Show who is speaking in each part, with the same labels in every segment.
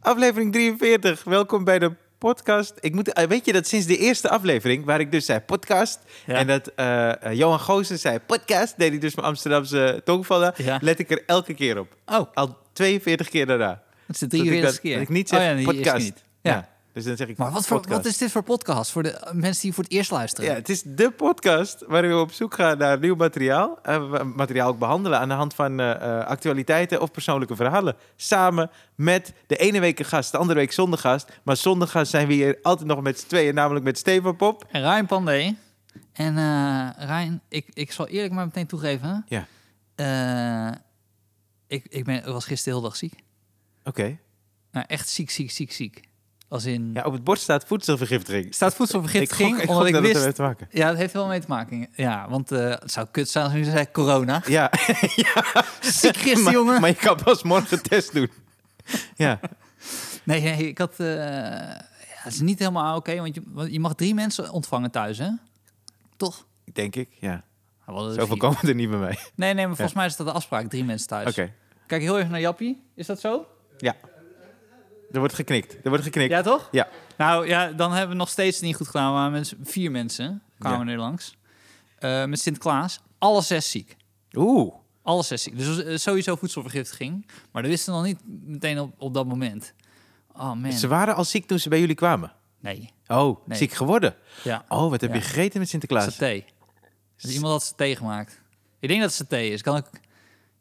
Speaker 1: Aflevering 43. Welkom bij de podcast. Ik moet, eh, weet je dat sinds de eerste aflevering, waar ik dus zei podcast,
Speaker 2: Ja.
Speaker 1: en dat eh, eh, Johan Goosen zei podcast, deed hij dus mijn Amsterdamse tongvallen,
Speaker 2: Ja.
Speaker 1: let ik er elke keer op.
Speaker 2: Oh,
Speaker 1: Al 42 keer daarna.
Speaker 2: het is de
Speaker 1: Dat ik
Speaker 2: 43
Speaker 1: dat-
Speaker 2: keer.
Speaker 1: Dat ik niet zeg
Speaker 2: Oh ja, nee, die eerste
Speaker 1: podcast.
Speaker 2: niet. Ja.
Speaker 1: Dus dan zeg ik
Speaker 2: Maar wat, voor,
Speaker 1: podcast.
Speaker 2: wat is dit voor podcast? Voor de eh, mensen die voor het eerst luisteren?
Speaker 1: Ja, het is de podcast waarin we op zoek gaan naar nieuw materiaal. En we materiaal ook behandelen aan de hand van eh, eh, actualiteiten of persoonlijke verhalen. Samen met de ene week een gast, de andere week zonder gast. Maar zonder gast zijn we hier altijd nog met z'n tweeën, namelijk met Stefan Pop.
Speaker 2: En Ryan Pandey. En eh Ryan, ik, ik zal eerlijk maar meteen toegeven.
Speaker 1: Ja.
Speaker 2: Eh, ik, ik ben, was gisteren heel dag ziek.
Speaker 1: Oké.
Speaker 2: Nou, echt ziek, ziek, ziek, ziek. Als in...
Speaker 1: Ja, op het bord staat voedselvergiftiging.
Speaker 2: Staat
Speaker 1: ik
Speaker 2: voedselvergiftiging,
Speaker 1: gok, ik
Speaker 2: omdat
Speaker 1: gok
Speaker 2: ik
Speaker 1: dat het
Speaker 2: wist...
Speaker 1: ermee te maken.
Speaker 2: Ja, dat heeft wel mee te maken. Ja, want eh, het zou kut zijn als ik nu zei corona.
Speaker 1: Ja,
Speaker 2: Ziek gisteren,
Speaker 1: maar,
Speaker 2: jongen.
Speaker 1: maar je kan pas morgen een test doen. ja,
Speaker 2: Nee, nee, ik had... eh, ja, het is niet helemaal oké, want, je, want je mag drie mensen ontvangen thuis, hè? Toch?
Speaker 1: denk ik. Ja.
Speaker 2: Ja, wel, dat is
Speaker 1: Zoveel
Speaker 2: vier.
Speaker 1: komen er niet bij mij.
Speaker 2: Nee, nee, maar volgens mij is dat de afspraak. Drie mensen thuis.
Speaker 1: Oké.
Speaker 2: Kijk heel even naar Jappie. Is dat zo?
Speaker 1: Ja. Er wordt geknikt. Er wordt geknikt.
Speaker 2: Ja, toch?
Speaker 1: Ja.
Speaker 2: Nou ja, dan hebben we nog steeds niet goed gedaan. Maar mensen, vier mensen kwamen er langs. Eh, met Sinterklaas. Alle zes ziek.
Speaker 1: Oeh.
Speaker 2: Alle zes ziek. Dus eh, sowieso voedselvergiftiging. Maar dat wisten we nog niet meteen op, op dat moment. Oh man.
Speaker 1: Ze waren al ziek toen ze bij jullie kwamen.
Speaker 2: Nee.
Speaker 1: Oh,
Speaker 2: Nee.
Speaker 1: ziek geworden.
Speaker 2: Ja.
Speaker 1: Oh, wat heb
Speaker 2: Ja.
Speaker 1: je gegeten met Sinterklaas?
Speaker 2: Saté. Dus iemand had saté gemaakt. Ik denk dat het saté is. Kan ook,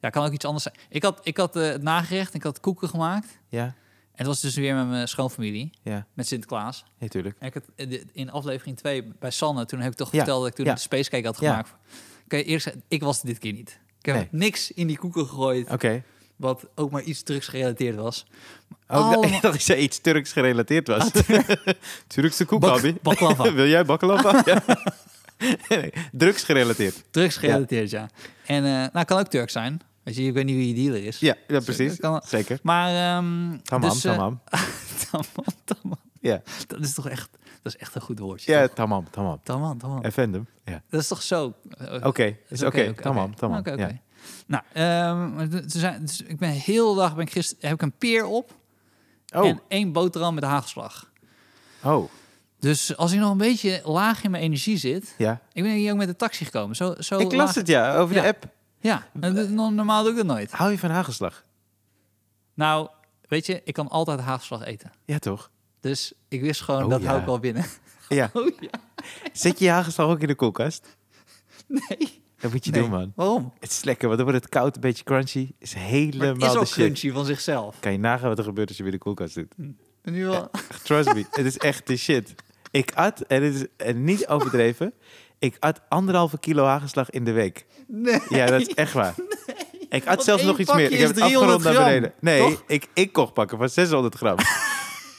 Speaker 2: ja, kan ook iets anders zijn. Ik had, ik had eh, het nagerecht. Ik had koeken gemaakt.
Speaker 1: Ja,
Speaker 2: En het was dus weer met mijn schoonfamilie.
Speaker 1: ja,
Speaker 2: Met Sinterklaas.
Speaker 1: natuurlijk.
Speaker 2: En ik had eh, dit- in aflevering 2 bij Sanne, toen heb ik toch
Speaker 1: Ja,
Speaker 2: verteld dat ik toen
Speaker 1: ja.
Speaker 2: een spacecake had
Speaker 1: Ja.
Speaker 2: gemaakt. Oké, eerlijk zeggen, ik was het dit keer niet. Ik heb
Speaker 1: Nee.
Speaker 2: niks in die koeken gegooid
Speaker 1: Oké.
Speaker 2: wat ook maar iets drugs gerelateerd was.
Speaker 1: Oh, ik dacht-
Speaker 2: Allemaal-
Speaker 1: ik dacht dat ze iets Turks gerelateerd was. Turkse koek,
Speaker 2: Bak-
Speaker 1: Abi.
Speaker 2: baklava.
Speaker 1: Wil jij baklava? ja. Nee, Drugs gerelateerd.
Speaker 2: Drugs gerelateerd, ja. En eh nou, kan ook Turk zijn. Weet je, ik weet niet wie je dealer is.
Speaker 1: Ja, ja
Speaker 2: Zo,
Speaker 1: precies.
Speaker 2: dat kan-
Speaker 1: Zeker.
Speaker 2: Maar, ehm
Speaker 1: Tamam,
Speaker 2: dus, eh,
Speaker 1: tamam.
Speaker 2: tamam, tamam.
Speaker 1: Ja.
Speaker 2: Dat is toch echt, dat is echt een goed woordje.
Speaker 1: Ja,
Speaker 2: toch?
Speaker 1: tamam, tamam.
Speaker 2: Tamam, tamam.
Speaker 1: Effendum. Ja.
Speaker 2: Dat is toch zo... eh,
Speaker 1: Oké, is oké. Tamam, tamam.
Speaker 2: Oké,
Speaker 1: Ja.
Speaker 2: oké. Nou, ehm, maar d- ze zijn- dus ik ben heel de dag, ben ik gister, heb ik een peer op
Speaker 1: Oh,
Speaker 2: en één boterham met haagslag.
Speaker 1: oh,
Speaker 2: Dus als ik nog een beetje laag in mijn energie zit,
Speaker 1: ja.
Speaker 2: ik ben hier ook met de taxi gekomen. Zo, zo
Speaker 1: Ik
Speaker 2: laag-
Speaker 1: las het, ja, over de
Speaker 2: Ja.
Speaker 1: app.
Speaker 2: Ja, en dat- no- normaal doe ik dat nooit.
Speaker 1: Hou je van hagelslag?
Speaker 2: Nou, weet je, ik kan altijd haagslag eten.
Speaker 1: Ja, toch?
Speaker 2: Dus ik wist gewoon,
Speaker 1: Oh,
Speaker 2: dat
Speaker 1: ja.
Speaker 2: hou ik wel binnen.
Speaker 1: Ja.
Speaker 2: Oh ja,
Speaker 1: Zet je je hagelslag ook in de koelkast?
Speaker 2: nee.
Speaker 1: Dat moet je
Speaker 2: Nee.
Speaker 1: doen, man.
Speaker 2: Waarom?
Speaker 1: Het is lekker, want dan wordt het koud, een beetje crunchy. Is
Speaker 2: Maar
Speaker 1: helemaal
Speaker 2: het is
Speaker 1: de
Speaker 2: al
Speaker 1: shit.
Speaker 2: crunchy van zichzelf.
Speaker 1: Kan je nagaan wat er gebeurt als je weer de koelkast doet?
Speaker 2: En nu wel...
Speaker 1: Trust me, het is echt de shit. Ik at, en het is eh, niet overdreven, ik at anderhalve kilo hagelslag in de week.
Speaker 2: Nee.
Speaker 1: Ja, dat is echt waar. ik at zelfs
Speaker 2: één
Speaker 1: nog iets
Speaker 2: pakje
Speaker 1: meer. Ik
Speaker 2: is
Speaker 1: heb het
Speaker 2: 300
Speaker 1: afgerond naar
Speaker 2: gram,
Speaker 1: beneden. Nee,
Speaker 2: toch?
Speaker 1: ik, ik kocht pakken van 600 gram.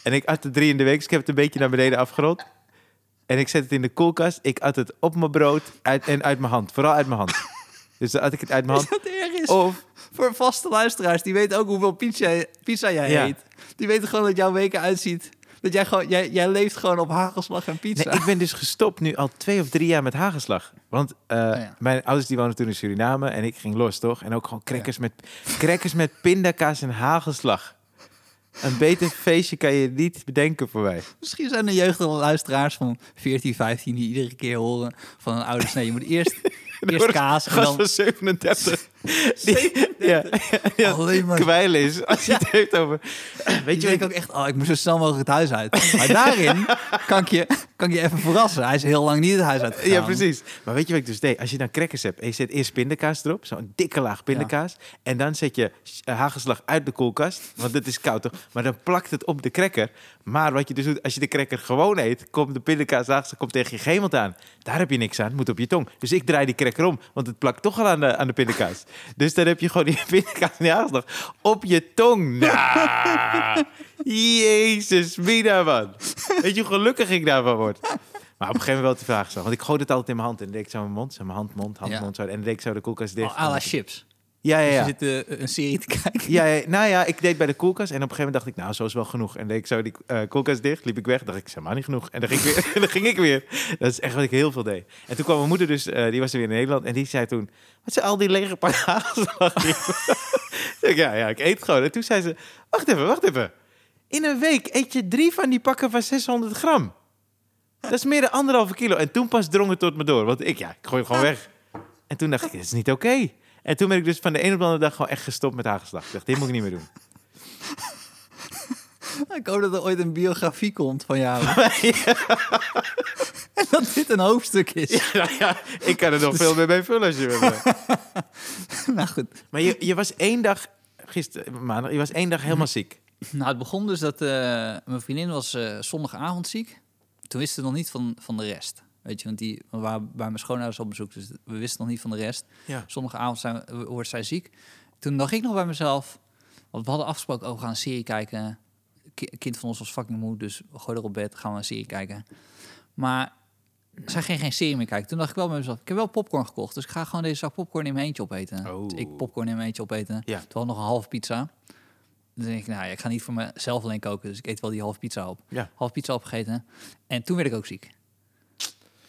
Speaker 1: en ik at er drie in de week, dus ik heb het een beetje naar beneden afgerond. En ik zet het in de koelkast. Ik at het op mijn brood uit, en uit mijn hand. Vooral uit mijn hand. Dus dan at ik het uit mijn
Speaker 2: Is
Speaker 1: hand.
Speaker 2: dat erg is?
Speaker 1: Of
Speaker 2: Voor vaste luisteraars, die weten ook hoeveel pizza, pizza jij
Speaker 1: Ja.
Speaker 2: eet. Die weten gewoon dat jouw weken uitziet. Dat jij gewoon, jij, jij leeft gewoon op hagelslag en pizza.
Speaker 1: Nee, ik ben dus gestopt nu al twee of drie jaar met hagelslag. Want eh,
Speaker 2: Oh, ja. Oh,
Speaker 1: mijn ouders die woonden toen in Suriname en ik ging los, toch? En ook gewoon crackers, met, crackers met pindakaas en hagelslag. Een beter feestje kan je niet bedenken voor mij.
Speaker 2: Misschien zijn er jeugdige luisteraars van 14, 15 die iedere keer horen van hun ouders. Nee, je moet eerst, eerst kaas en
Speaker 1: Gast
Speaker 2: dan
Speaker 1: van 37. Die, ja, ja,
Speaker 2: alleen maar...
Speaker 1: kwijlen is als je het heeft over... Weet je
Speaker 2: Je
Speaker 1: wat
Speaker 2: denkt ook echt, oh, ik moet zo snel mogelijk het huis uit. Maar daarin kan ik, je, kan ik je even verrassen. Hij is heel lang niet het huis uit
Speaker 1: Ja, precies. Maar weet je wat ik dus deed? Als je dan crackers hebt en je zet eerst pindakaas erop, zo'n dikke laag pindakaas, en dan zet je eh, hagelslag uit de koelkast, want het is koud toch? Maar dan plakt het op de cracker. Maar wat je dus doet, als je de cracker gewoon eet, komt de pindakaas hagelslag komt tegen je gemelt aan. Daar heb je niks aan, moet op je tong. Dus ik draai die cracker om, want het plakt toch al aan de, aan de pindakaas. dus dan heb je gewoon die pindakaas en die hagelslag op je tong. Nou, Nah. Jezus, Mina, man. Weet je hoe gelukkig ik daarvan word? Maar op een gegeven moment wel te vragen zo. Want ik gooi het altijd in mijn hand en dan deed ik zo mijn mond, zo mijn hand, mond, hand,
Speaker 2: Ja.
Speaker 1: mond. Zo, en dan deed ik zo de koelkast dicht.
Speaker 2: Oh, à la chips.
Speaker 1: ja, ja,
Speaker 2: Dus
Speaker 1: ja.
Speaker 2: je zit eh, een serie te kijken.
Speaker 1: Ja, ja, nou ja, ik deed bij de koelkast en op een gegeven moment dacht ik, nou, zo is wel genoeg. En deed ik zo die eh, koelkast dicht, liep ik weg, dacht ik, is helemaal niet genoeg. En dan ging, ik weer, en dan ging ik weer. Dat is echt wat ik heel veel deed. En toen kwam mijn moeder dus, eh, die was er weer in Nederland en die zei toen, wat zijn al die lege paraatslag? ja, ja, ik eet gewoon. En toen zei ze, wacht even, wacht even. In een week eet je drie van die pakken van 600 gram. Dat is meer dan anderhalve kilo. En toen pas drong het tot me door. Want ik, ja, ik gooi het gewoon weg. En toen dacht ik, dit is niet oké. En toen ben ik dus van de ene op de andere dag gewoon echt gestopt met hagelslag. Ik dacht, dit moet ik niet meer doen.
Speaker 2: Nou, Ik hoop dat er ooit een biografie komt van jou. en dat dit een hoofdstuk is.
Speaker 1: Nou ja, ik kan er nog veel meer mee vullen als je wil.
Speaker 2: nou goed.
Speaker 1: Maar je, je was één dag, gisteren, maandag, je was één dag helemaal ziek.
Speaker 2: Nou, het begon dus dat eh, mijn vriendin was eh, zondagavond ziek. Toen wisten we nog niet van, van de rest. Weet je, want die, we waren bij mijn schoonouders op bezoek, dus we wisten nog niet van de rest.
Speaker 1: Ja.
Speaker 2: Zondagavond zijn, we- wordt zij ziek. Toen dacht ik nog bij mezelf, want we hadden afgesproken, oh, we gaan een serie kijken. Ki- kind van ons was fucking moe, dus we gooien er op bed, gaan we een serie kijken. Maar zij ging geen serie meer kijken. Toen dacht ik wel bij mezelf, ik heb wel popcorn gekocht, dus ik ga gewoon deze zak popcorn in mijn eentje opeten.
Speaker 1: Oh.
Speaker 2: Dus ik popcorn in mijn eentje opeten.
Speaker 1: Ja.
Speaker 2: Toen had nog een half pizza. Dan denk ik, nou ja, ik ga niet voor mezelf alleen koken, dus ik eet wel die half pizza op.
Speaker 1: Ja.
Speaker 2: Half pizza opgegeten. En toen werd ik ook ziek.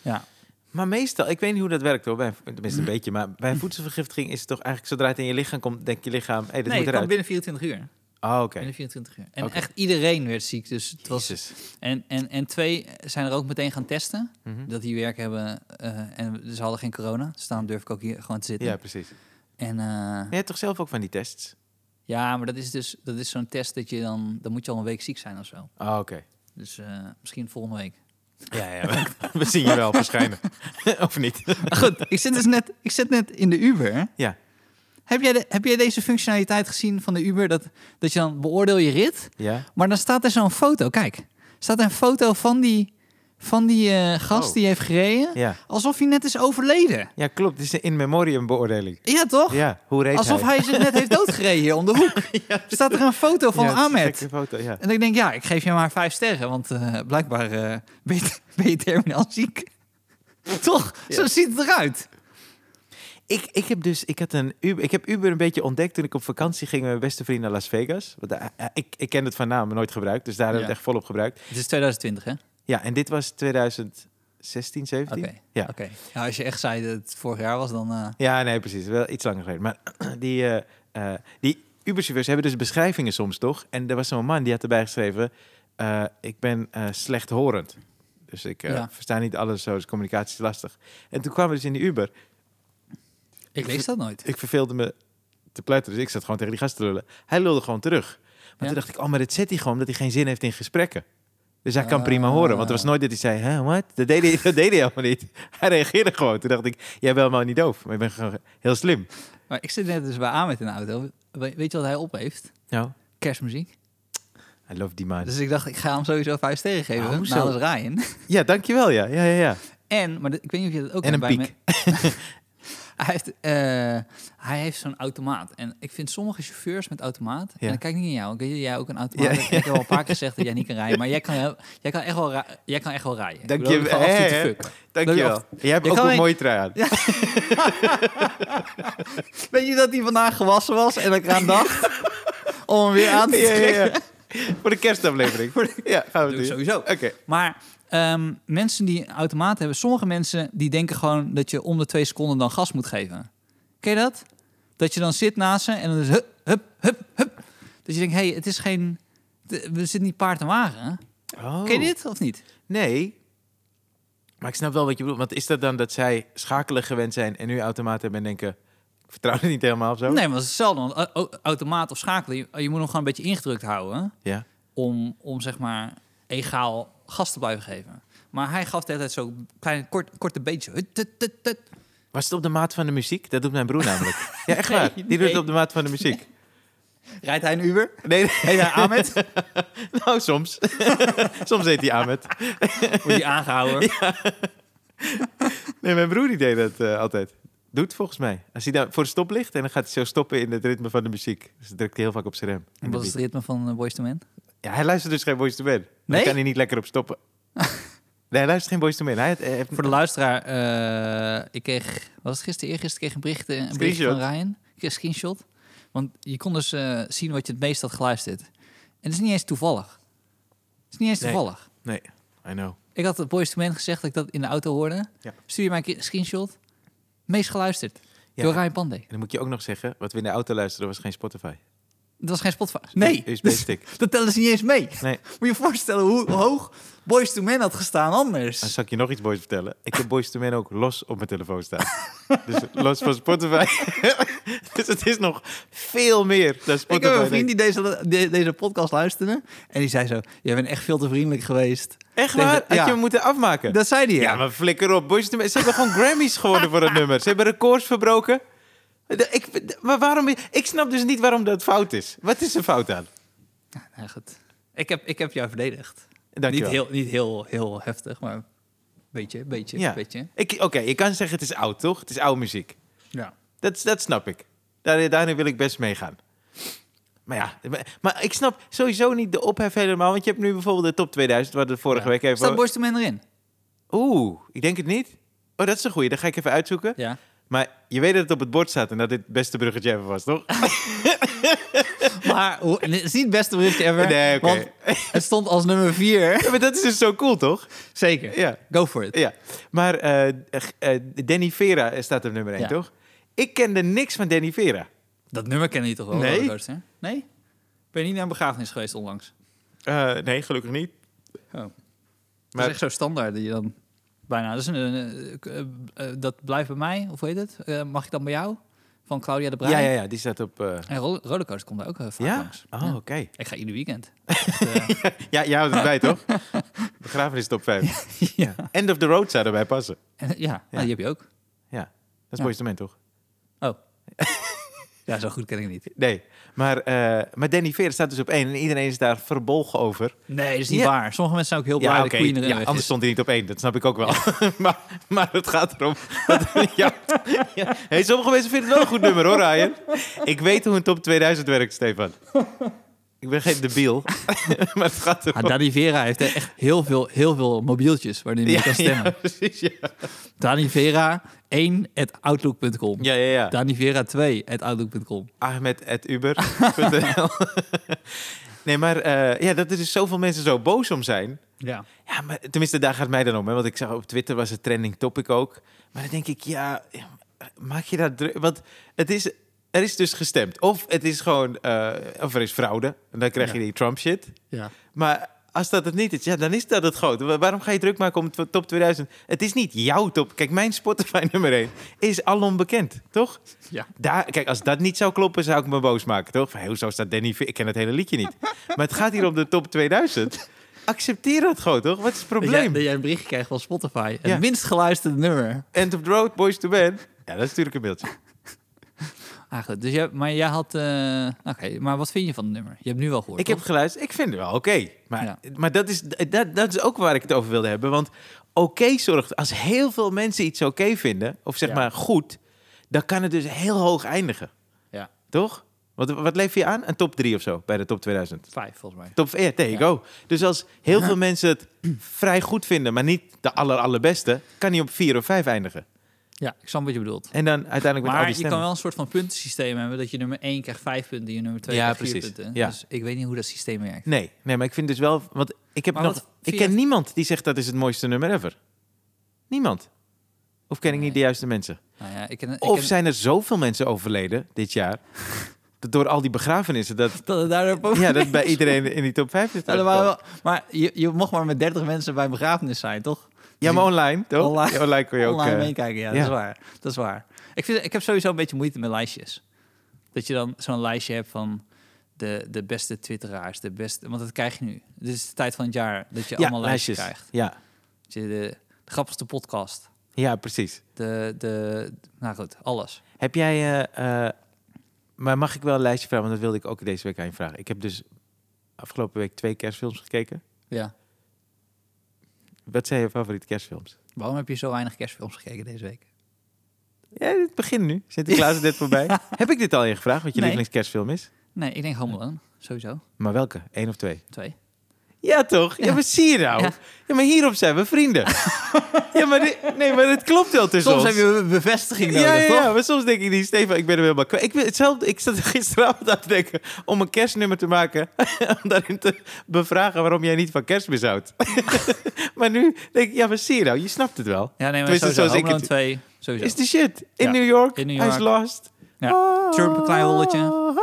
Speaker 2: Ja,
Speaker 1: Maar meestal, ik weet niet hoe dat werkt hoor, bij, tenminste een beetje, maar bij voedselvergiftiging is het toch eigenlijk zodra het in je lichaam komt, denkt je lichaam, hé, hey, dit
Speaker 2: nee,
Speaker 1: moet
Speaker 2: ik kwam
Speaker 1: eruit.
Speaker 2: binnen 24 uur.
Speaker 1: Oh, oké.
Speaker 2: Binnen 24 uur. En
Speaker 1: Oké.
Speaker 2: echt iedereen werd ziek. Dus het was,
Speaker 1: Jezus.
Speaker 2: en, en, en twee zijn er ook meteen gaan testen.
Speaker 1: Mhm.
Speaker 2: Dat die werk hebben. eh, en ze hadden geen corona. Dus daarom durf ik ook hier gewoon te zitten.
Speaker 1: Ja, precies.
Speaker 2: En, eh,
Speaker 1: Maar je hebt toch zelf ook van die tests?
Speaker 2: ja, maar dat is dus dat is zo'n test dat je dan... Dan moet je al een week ziek zijn of zo.
Speaker 1: Oh, oké.
Speaker 2: Dus eh, misschien volgende week.
Speaker 1: Ja, ja, we zien je wel verschijnen. of niet?
Speaker 2: Maar goed, ik zit dus net, ik zit net in de Uber.
Speaker 1: Ja.
Speaker 2: Heb jij, de- heb jij deze functionaliteit gezien van de Uber? Dat, dat je dan beoordeel je rit.
Speaker 1: Ja?
Speaker 2: Maar dan staat er zo'n foto. Kijk, staat er een foto van die, van die eh, gast
Speaker 1: Oh.
Speaker 2: die heeft gereden.
Speaker 1: Ja.
Speaker 2: Alsof hij net is overleden.
Speaker 1: Ja, klopt. Het is een in memoriam beoordeling.
Speaker 2: Ja, toch?
Speaker 1: Ja, hoe reed
Speaker 2: Alsof hij zich net heeft doodgereden hier om de hoek. Staat er een foto van
Speaker 1: Ja, het is een
Speaker 2: Ahmed.
Speaker 1: gekke Foto, ja.
Speaker 2: En ik denk, ja, ik geef je maar vijf sterren. Want eh, blijkbaar eh, ben, je, ben je terminaal ziek. toch? Zo ziet het eruit.
Speaker 1: Ik, ik heb dus, ik had een Uber, ik heb Uber een beetje ontdekt toen ik op vakantie ging met mijn beste vriend naar Las Vegas. Want, eh, eh, ik, ik ken het van naam, maar nooit gebruikt, dus daar hebben we
Speaker 2: Ja.
Speaker 1: het echt volop gebruikt.
Speaker 2: Het is 2020, hè?
Speaker 1: Ja, en dit was 2016, 17.
Speaker 2: Oké.
Speaker 1: Ja.
Speaker 2: Oké. Nou, als je echt zei dat het vorig jaar was, dan... eh,
Speaker 1: Ja, nee, precies. Wel iets langer geleden. Maar die, eh, eh, die Uber-chauffeurs hebben dus beschrijvingen soms, toch? En er was zo'n man die had erbij geschreven... eh, ik ben eh, slechthorend. Dus ik eh,
Speaker 2: Ja.
Speaker 1: versta niet alles zo, dus communicatie is lastig. En toen kwamen we dus in de Uber.
Speaker 2: ik lees dat nooit.
Speaker 1: Ik verveelde me te pleiten, dus ik zat gewoon tegen die gast te lullen. Hij lulde gewoon terug. Maar
Speaker 2: Ja.
Speaker 1: toen dacht ik, oh, maar dit zet hij gewoon omdat hij geen zin heeft in gesprekken. Dus hij kan prima
Speaker 2: Ah.
Speaker 1: horen, want er was nooit dat hij zei, hè, wat? Dat deed, hij, dat deed hij helemaal niet. Hij reageerde gewoon. Toen dacht ik, jij bent wel niet doof, maar je bent gewoon heel slim.
Speaker 2: Maar ik zit net dus bij Ahmed in de auto. We- weet je wat hij op heeft?
Speaker 1: Nou,
Speaker 2: Kerstmuziek.
Speaker 1: I love die man.
Speaker 2: Dus ik dacht, ik ga hem sowieso vijf sterren geven. Nou,
Speaker 1: Ah, hoezo?
Speaker 2: namens Ryan.
Speaker 1: Ja, dankjewel. Ja, ja, ja. ja.
Speaker 2: En, maar dat- ik weet niet of je dat ook
Speaker 1: En
Speaker 2: hebt
Speaker 1: een
Speaker 2: bij me- hij heeft, eh, hij heeft zo'n automaat. En ik vind sommige chauffeurs met automaat...
Speaker 1: Ja.
Speaker 2: En dan kijk ik niet naar jou. Ik weet dat jij ook een automaat
Speaker 1: Ja.
Speaker 2: hebt. Ik heb al een paar keer gezegd dat jij niet kan rijden. Maar jij kan, heel- jij kan, echt, wel ra- jij kan echt wel rijden. Ik
Speaker 1: Dank
Speaker 2: bedoel,
Speaker 1: je-
Speaker 2: gewoon absolute
Speaker 1: hè, hè?
Speaker 2: fuck.
Speaker 1: Dankjewel.
Speaker 2: Leuk
Speaker 1: Jij hebt
Speaker 2: Je
Speaker 1: ook
Speaker 2: kan
Speaker 1: een
Speaker 2: een-
Speaker 1: mooie trui aan.
Speaker 2: Weet je dat hij vandaag gewassen was en dat ik eraan dacht? om hem weer aan te
Speaker 1: Ja,
Speaker 2: trekken.
Speaker 1: ja, ja. Voor de kerstaflevering. Ja, gaan we
Speaker 2: Doe ik
Speaker 1: doen.
Speaker 2: sowieso.
Speaker 1: Oké.
Speaker 2: Maar ehm, mensen die een automaat hebben, sommige mensen die denken gewoon dat je om de twee seconden dan gas moet geven. Ken je dat? Dat je dan zit naast ze en dan is hup, hup, hup, hup. Dat je denkt, hé, hey, het is geen... de- We zitten niet paard en wagen.
Speaker 1: Oh.
Speaker 2: Ken je dit of niet?
Speaker 1: Nee. Maar ik snap wel wat je bedoelt. Want is dat dan dat zij schakelen gewend zijn en nu automaat hebben en denken... Ik vertrouw het niet helemaal of zo?
Speaker 2: Nee, maar het is hetzelfde. Want au- au- automaat of schakelen, je, je moet hem gewoon een beetje ingedrukt houden...
Speaker 1: Ja.
Speaker 2: om, om zeg maar egaal gas te blijven geven. Maar hij gaf de hele tijd zo'n klein, kort, korte beetje. Hut, tut, tut, tut.
Speaker 1: Was het op de maat van de muziek? Dat doet mijn broer namelijk. Ja, echt
Speaker 2: Nee,
Speaker 1: waar. Die doet het
Speaker 2: nee.
Speaker 1: op de maat van de muziek.
Speaker 2: Rijdt hij een Uber?
Speaker 1: Nee,
Speaker 2: Heet hij Ahmed?
Speaker 1: nee, nou soms. soms heet hij Ahmed.
Speaker 2: Wordt hij aangehouden?
Speaker 1: Nee, mijn broer die deed dat eh, altijd. Doet volgens mij. Als hij daar voor de stop ligt en dan gaat hij zo stoppen in het ritme van de muziek. Dus dan drukt hij heel vaak op zijn rem.
Speaker 2: En wat is het ritme van eh, Boys to Men?
Speaker 1: Ja, hij luistert dus geen Boys to Men. Daar
Speaker 2: Nee?
Speaker 1: kan hij niet lekker op stoppen. nee, hij luistert geen Boys to Men. Hij, hij heeft
Speaker 2: Voor de luisteraar, eh, ik kreeg, was het gisteren, eergisteren kreeg ik een bericht, eh, een bericht van
Speaker 1: Screenshot.
Speaker 2: Ryan. Ik kreeg een screenshot. Want je kon dus eh, zien wat je het meest had geluisterd. En het is niet eens toevallig. Het is niet eens
Speaker 1: Nee.
Speaker 2: toevallig.
Speaker 1: Nee, I know.
Speaker 2: Ik had het Boys to Men gezegd dat ik dat in de auto hoorde.
Speaker 1: Ja.
Speaker 2: Stuur je mij een keer een screenshot. Meest geluisterd.
Speaker 1: Ja.
Speaker 2: Door Ryan Pandey.
Speaker 1: En dan moet je ook nog zeggen, wat we in de auto luisteren was geen Spotify.
Speaker 2: Dat was geen Spotify. Nee.
Speaker 1: USB-stick.
Speaker 2: dat tellen ze niet eens mee.
Speaker 1: Nee.
Speaker 2: Moet je je voorstellen hoe hoog Boys to Men had gestaan
Speaker 1: Dan
Speaker 2: anders.
Speaker 1: zal ik je nog iets boys vertellen. Ik heb Boys to Men ook los op mijn telefoon staan. dus los van Spotify. dus het is nog veel meer dan
Speaker 2: Ik
Speaker 1: Spotify.
Speaker 2: heb een vriend
Speaker 1: denk ik.
Speaker 2: die deze, de- deze podcast luisterde. En die zei zo, jij bent echt veel te vriendelijk geweest.
Speaker 1: Echt waar? Had je
Speaker 2: Ja.
Speaker 1: hem moeten afmaken?
Speaker 2: Dat zei hij.
Speaker 1: ja.
Speaker 2: ja.
Speaker 1: maar flikker op. Boys to Men. Ze hebben gewoon Grammys gewonnen voor dat nummer. Ze hebben records verbroken. De- ik, de- maar waarom... Ik snap dus niet waarom dat fout is. Wat is er fout aan?
Speaker 2: Ja, goed. Ik heb, ik heb jou verdedigd.
Speaker 1: Dank je
Speaker 2: niet
Speaker 1: wel.
Speaker 2: heel, niet heel, heel heftig, maar een beetje, een beetje,
Speaker 1: Ja.
Speaker 2: een beetje.
Speaker 1: Ik- Oké, je kan zeggen het is oud, toch? Het is oude muziek.
Speaker 2: Ja.
Speaker 1: Dat, dat snap ik. Daar, daarin wil ik best meegaan. Maar ja, maar, maar ik snap sowieso niet de ophef helemaal. Want je hebt nu bijvoorbeeld de top 2000, waar we vorige week even...
Speaker 2: Staat Boys to Men erin?
Speaker 1: Oeh, ik denk het niet. Oh, dat is een goeie. Dat ga ik even uitzoeken.
Speaker 2: Ja.
Speaker 1: Maar je weet dat het op het bord staat en dat dit het beste bruggetje ever was, toch?
Speaker 2: Maar hoe- en het is niet het beste berichtje ever.
Speaker 1: Nee, oké.
Speaker 2: Want het stond als nummer vier.
Speaker 1: Ja, maar dat is dus zo cool, toch?
Speaker 2: Zeker.
Speaker 1: Ja.
Speaker 2: Go for it.
Speaker 1: Ja. Maar eh, eh, Danny Vera staat op nummer 1,
Speaker 2: Ja.
Speaker 1: toch? Ik kende niks van Danny Vera.
Speaker 2: Dat nummer kennen jullie toch wel?
Speaker 1: Nee.
Speaker 2: Rollercoaster, hè? Nee? Ben je niet naar een begrafenis geweest onlangs?
Speaker 1: Eh, nee, gelukkig niet.
Speaker 2: Oh. Dat
Speaker 1: Maar-
Speaker 2: is echt zo standaard dat je dan bijna... Dat, is een, eh, k- eh, eh, dat blijft bij mij, of hoe heet het? Eh, mag ik dan bij jou? Van Claudia de Bruin.
Speaker 1: Ja, ja, ja. Die staat op... eh,
Speaker 2: En Roll- Rollercoaster komt daar ook eh, vaak
Speaker 1: Ja?
Speaker 2: langs.
Speaker 1: Oh,
Speaker 2: Ja.
Speaker 1: oké.
Speaker 2: Ik ga ieder weekend.
Speaker 1: Ja, jij houdt erbij, toch? Begrafenis top 5.
Speaker 2: ja.
Speaker 1: End of the road zou erbij passen.
Speaker 2: En, ja, nou,
Speaker 1: Ja.
Speaker 2: die heb je ook.
Speaker 1: Ja, dat is
Speaker 2: Ja.
Speaker 1: mooi instrument, toch?
Speaker 2: Oh. ja, zo goed ken ik het niet.
Speaker 1: Nee, maar, eh, maar Danny Veer staat dus op één en iedereen is daar verbolgen over.
Speaker 2: Nee, dat is niet
Speaker 1: Ja.
Speaker 2: waar. Sommige mensen zijn ook heel blij dat
Speaker 1: oké,
Speaker 2: Queen erin
Speaker 1: ja,
Speaker 2: weg is.
Speaker 1: anders stond hij niet op één, dat snap ik ook wel. maar, maar het gaat erom. dat- ja. Ja. Hey, sommige mensen vinden het wel een goed nummer hoor, Ryan. Ik weet hoe een top 2000 werkt, Stefan. Ik ben geen debiel, maar het gaat
Speaker 2: Ah,
Speaker 1: erom.
Speaker 2: Dani Vera heeft eh, echt heel veel, heel veel mobieltjes waarin je
Speaker 1: Ja,
Speaker 2: kan
Speaker 1: ja,
Speaker 2: stemmen.
Speaker 1: precies, ja.
Speaker 2: Dani Vera 1 at outlook.com.
Speaker 1: Ja, ja, ja.
Speaker 2: Dani Vera 2 at outlook.com.
Speaker 1: Ahmed.uber.nl Nee, maar eh, ja, dat er dus zoveel mensen zo boos om zijn.
Speaker 2: Ja.
Speaker 1: Ja, maar tenminste, daar gaat het mij dan om. Hè? Want ik zag op Twitter was het trending topic ook. Maar dan denk ik, ja, ja, maak je daar druk... Want het is, er is dus gestemd. Of het is gewoon... eh, of er is fraude. En dan krijg je
Speaker 2: Ja.
Speaker 1: die Trump shit.
Speaker 2: ja.
Speaker 1: Maar als dat het niet is, ja, dan is dat het groot. Wa- Waarom ga je druk maken om het top 2000? Het is niet jouw top. Kijk, mijn Spotify nummer 1 is alom bekend, toch?
Speaker 2: Ja.
Speaker 1: Daar, kijk, als dat niet zou kloppen, zou ik me boos maken, toch? Van, hoezo staat Danny Ve- Ik ken het hele liedje niet. Maar het gaat hier om de top 2000. Accepteer dat gewoon, toch? Wat is het
Speaker 2: Dat, jij,
Speaker 1: probleem?
Speaker 2: dat jij een berichtje krijgt van Spotify. Het
Speaker 1: Ja.
Speaker 2: minst geluisterde nummer.
Speaker 1: End of the road, boys to men. Ja, dat is natuurlijk een beeldje.
Speaker 2: Ah, goed. Dus jij, maar jij had... eh, Oké, maar wat vind je van het nummer? Je hebt nu wel gehoord,
Speaker 1: Ik heb geluisterd. Ik vind het wel oké. Maar,
Speaker 2: Ja.
Speaker 1: maar dat, is, dat, dat is ook waar ik het over wilde hebben. Want oké zorgt... Als heel veel mensen iets oké vinden, of zeg
Speaker 2: Ja.
Speaker 1: maar goed... dan kan het dus heel hoog eindigen.
Speaker 2: Ja,
Speaker 1: Toch? Wat, wat leef je aan? Een top 3 of zo bij de top 2000?
Speaker 2: vijf volgens mij.
Speaker 1: Top 4, there you
Speaker 2: Ja.
Speaker 1: go. Dus als heel veel mensen het vrij goed vinden... maar niet de aller, allerbeste... kan hij op 4 of 5 eindigen.
Speaker 2: Ja, ik snap wat je bedoelt.
Speaker 1: En dan uiteindelijk met al
Speaker 2: Maar
Speaker 1: die
Speaker 2: je kan
Speaker 1: stemmen.
Speaker 2: wel een soort van puntensysteem hebben... dat je nummer 1 krijgt 5 punten en je nummer 2
Speaker 1: Ja,
Speaker 2: krijgt 4
Speaker 1: precies.
Speaker 2: punten.
Speaker 1: Ja.
Speaker 2: Dus ik weet niet hoe dat systeem werkt.
Speaker 1: Nee, nee, maar ik vind dus wel... Want ik, heb
Speaker 2: Maar
Speaker 1: nog,
Speaker 2: wat vind
Speaker 1: ik
Speaker 2: je-
Speaker 1: ken niemand die zegt dat is het mooiste nummer ever. Niemand. Of ken ik niet de juiste mensen?
Speaker 2: Nou ja, ik ken, ik
Speaker 1: Of
Speaker 2: ken-
Speaker 1: zijn er zoveel mensen overleden dit jaar... dat door al die begrafenissen... dat,
Speaker 2: dat het daarop ook
Speaker 1: ja, dat bij iedereen in die top 5 is
Speaker 2: Ja, dat waren
Speaker 1: terechtgekomen.
Speaker 2: wel- maar je, je mocht maar met 30 mensen bij een begrafenis zijn, toch?
Speaker 1: Ja, maar online, toch?
Speaker 2: Online-
Speaker 1: Ja, online kon je ook...
Speaker 2: Online
Speaker 1: eh,
Speaker 2: meekijken, ja,
Speaker 1: ja.
Speaker 2: Dat, is waar. dat is waar. Ik, vind, ik heb sowieso een beetje moeite met lijstjes. Dat je dan zo'n lijstje hebt van de, de beste twitteraars, de beste... Want dat krijg je nu. Dit is de tijd van het jaar dat je
Speaker 1: ja,
Speaker 2: allemaal lijstjes, krijgt.
Speaker 1: Ja.
Speaker 2: Dat je de, de grappigste podcast,
Speaker 1: ja, precies.
Speaker 2: de, de... Nou goed, alles.
Speaker 1: Heb jij... eh, eh, maar mag ik wel een lijstje vragen? Want dat wilde ik ook deze week aan je vragen. Ik heb dus afgelopen week twee kerstfilms gekeken.
Speaker 2: Ja.
Speaker 1: Wat zijn je favoriete kerstfilms?
Speaker 2: Waarom heb je zo weinig kerstfilms gekeken deze week?
Speaker 1: Ja, het begint nu. Sinterklaas is net voorbij. Heb ik dit al je gevraagd, wat je
Speaker 2: Nee.
Speaker 1: lievelingskerstfilm is?
Speaker 2: Nee, ik denk Home Alone. Sowieso.
Speaker 1: Maar welke? Eén of twee?
Speaker 2: Twee.
Speaker 1: Ja, toch? Ja, maar zie je nou? Ja.
Speaker 2: Ja.
Speaker 1: maar hierop zijn we vrienden. ja, maar di- nee, maar het klopt wel tussen
Speaker 2: Soms
Speaker 1: ons.
Speaker 2: heb je be- bevestiging nodig,
Speaker 1: ja, ja,
Speaker 2: toch?
Speaker 1: ja, maar soms denk ik niet, Stefan, ik ben er helemaal kwijt. Ik, ben hetzelfde, ik zat er gisteravond aan te denken om een kerstnummer te maken. om daarin te bevragen waarom jij niet van kerstmis houdt. maar nu denk ik, ja, maar zie je nou, je snapt het wel.
Speaker 2: Ja, nee, maar
Speaker 1: Tenminste,
Speaker 2: sowieso.
Speaker 1: zoals ik
Speaker 2: Home Alone
Speaker 1: het-
Speaker 2: 2, sowieso.
Speaker 1: Is de shit. In
Speaker 2: Ja,
Speaker 1: New York,
Speaker 2: in New
Speaker 1: hij is
Speaker 2: York.
Speaker 1: lost.
Speaker 2: Ja. Trump, een klein holletje.
Speaker 1: ah.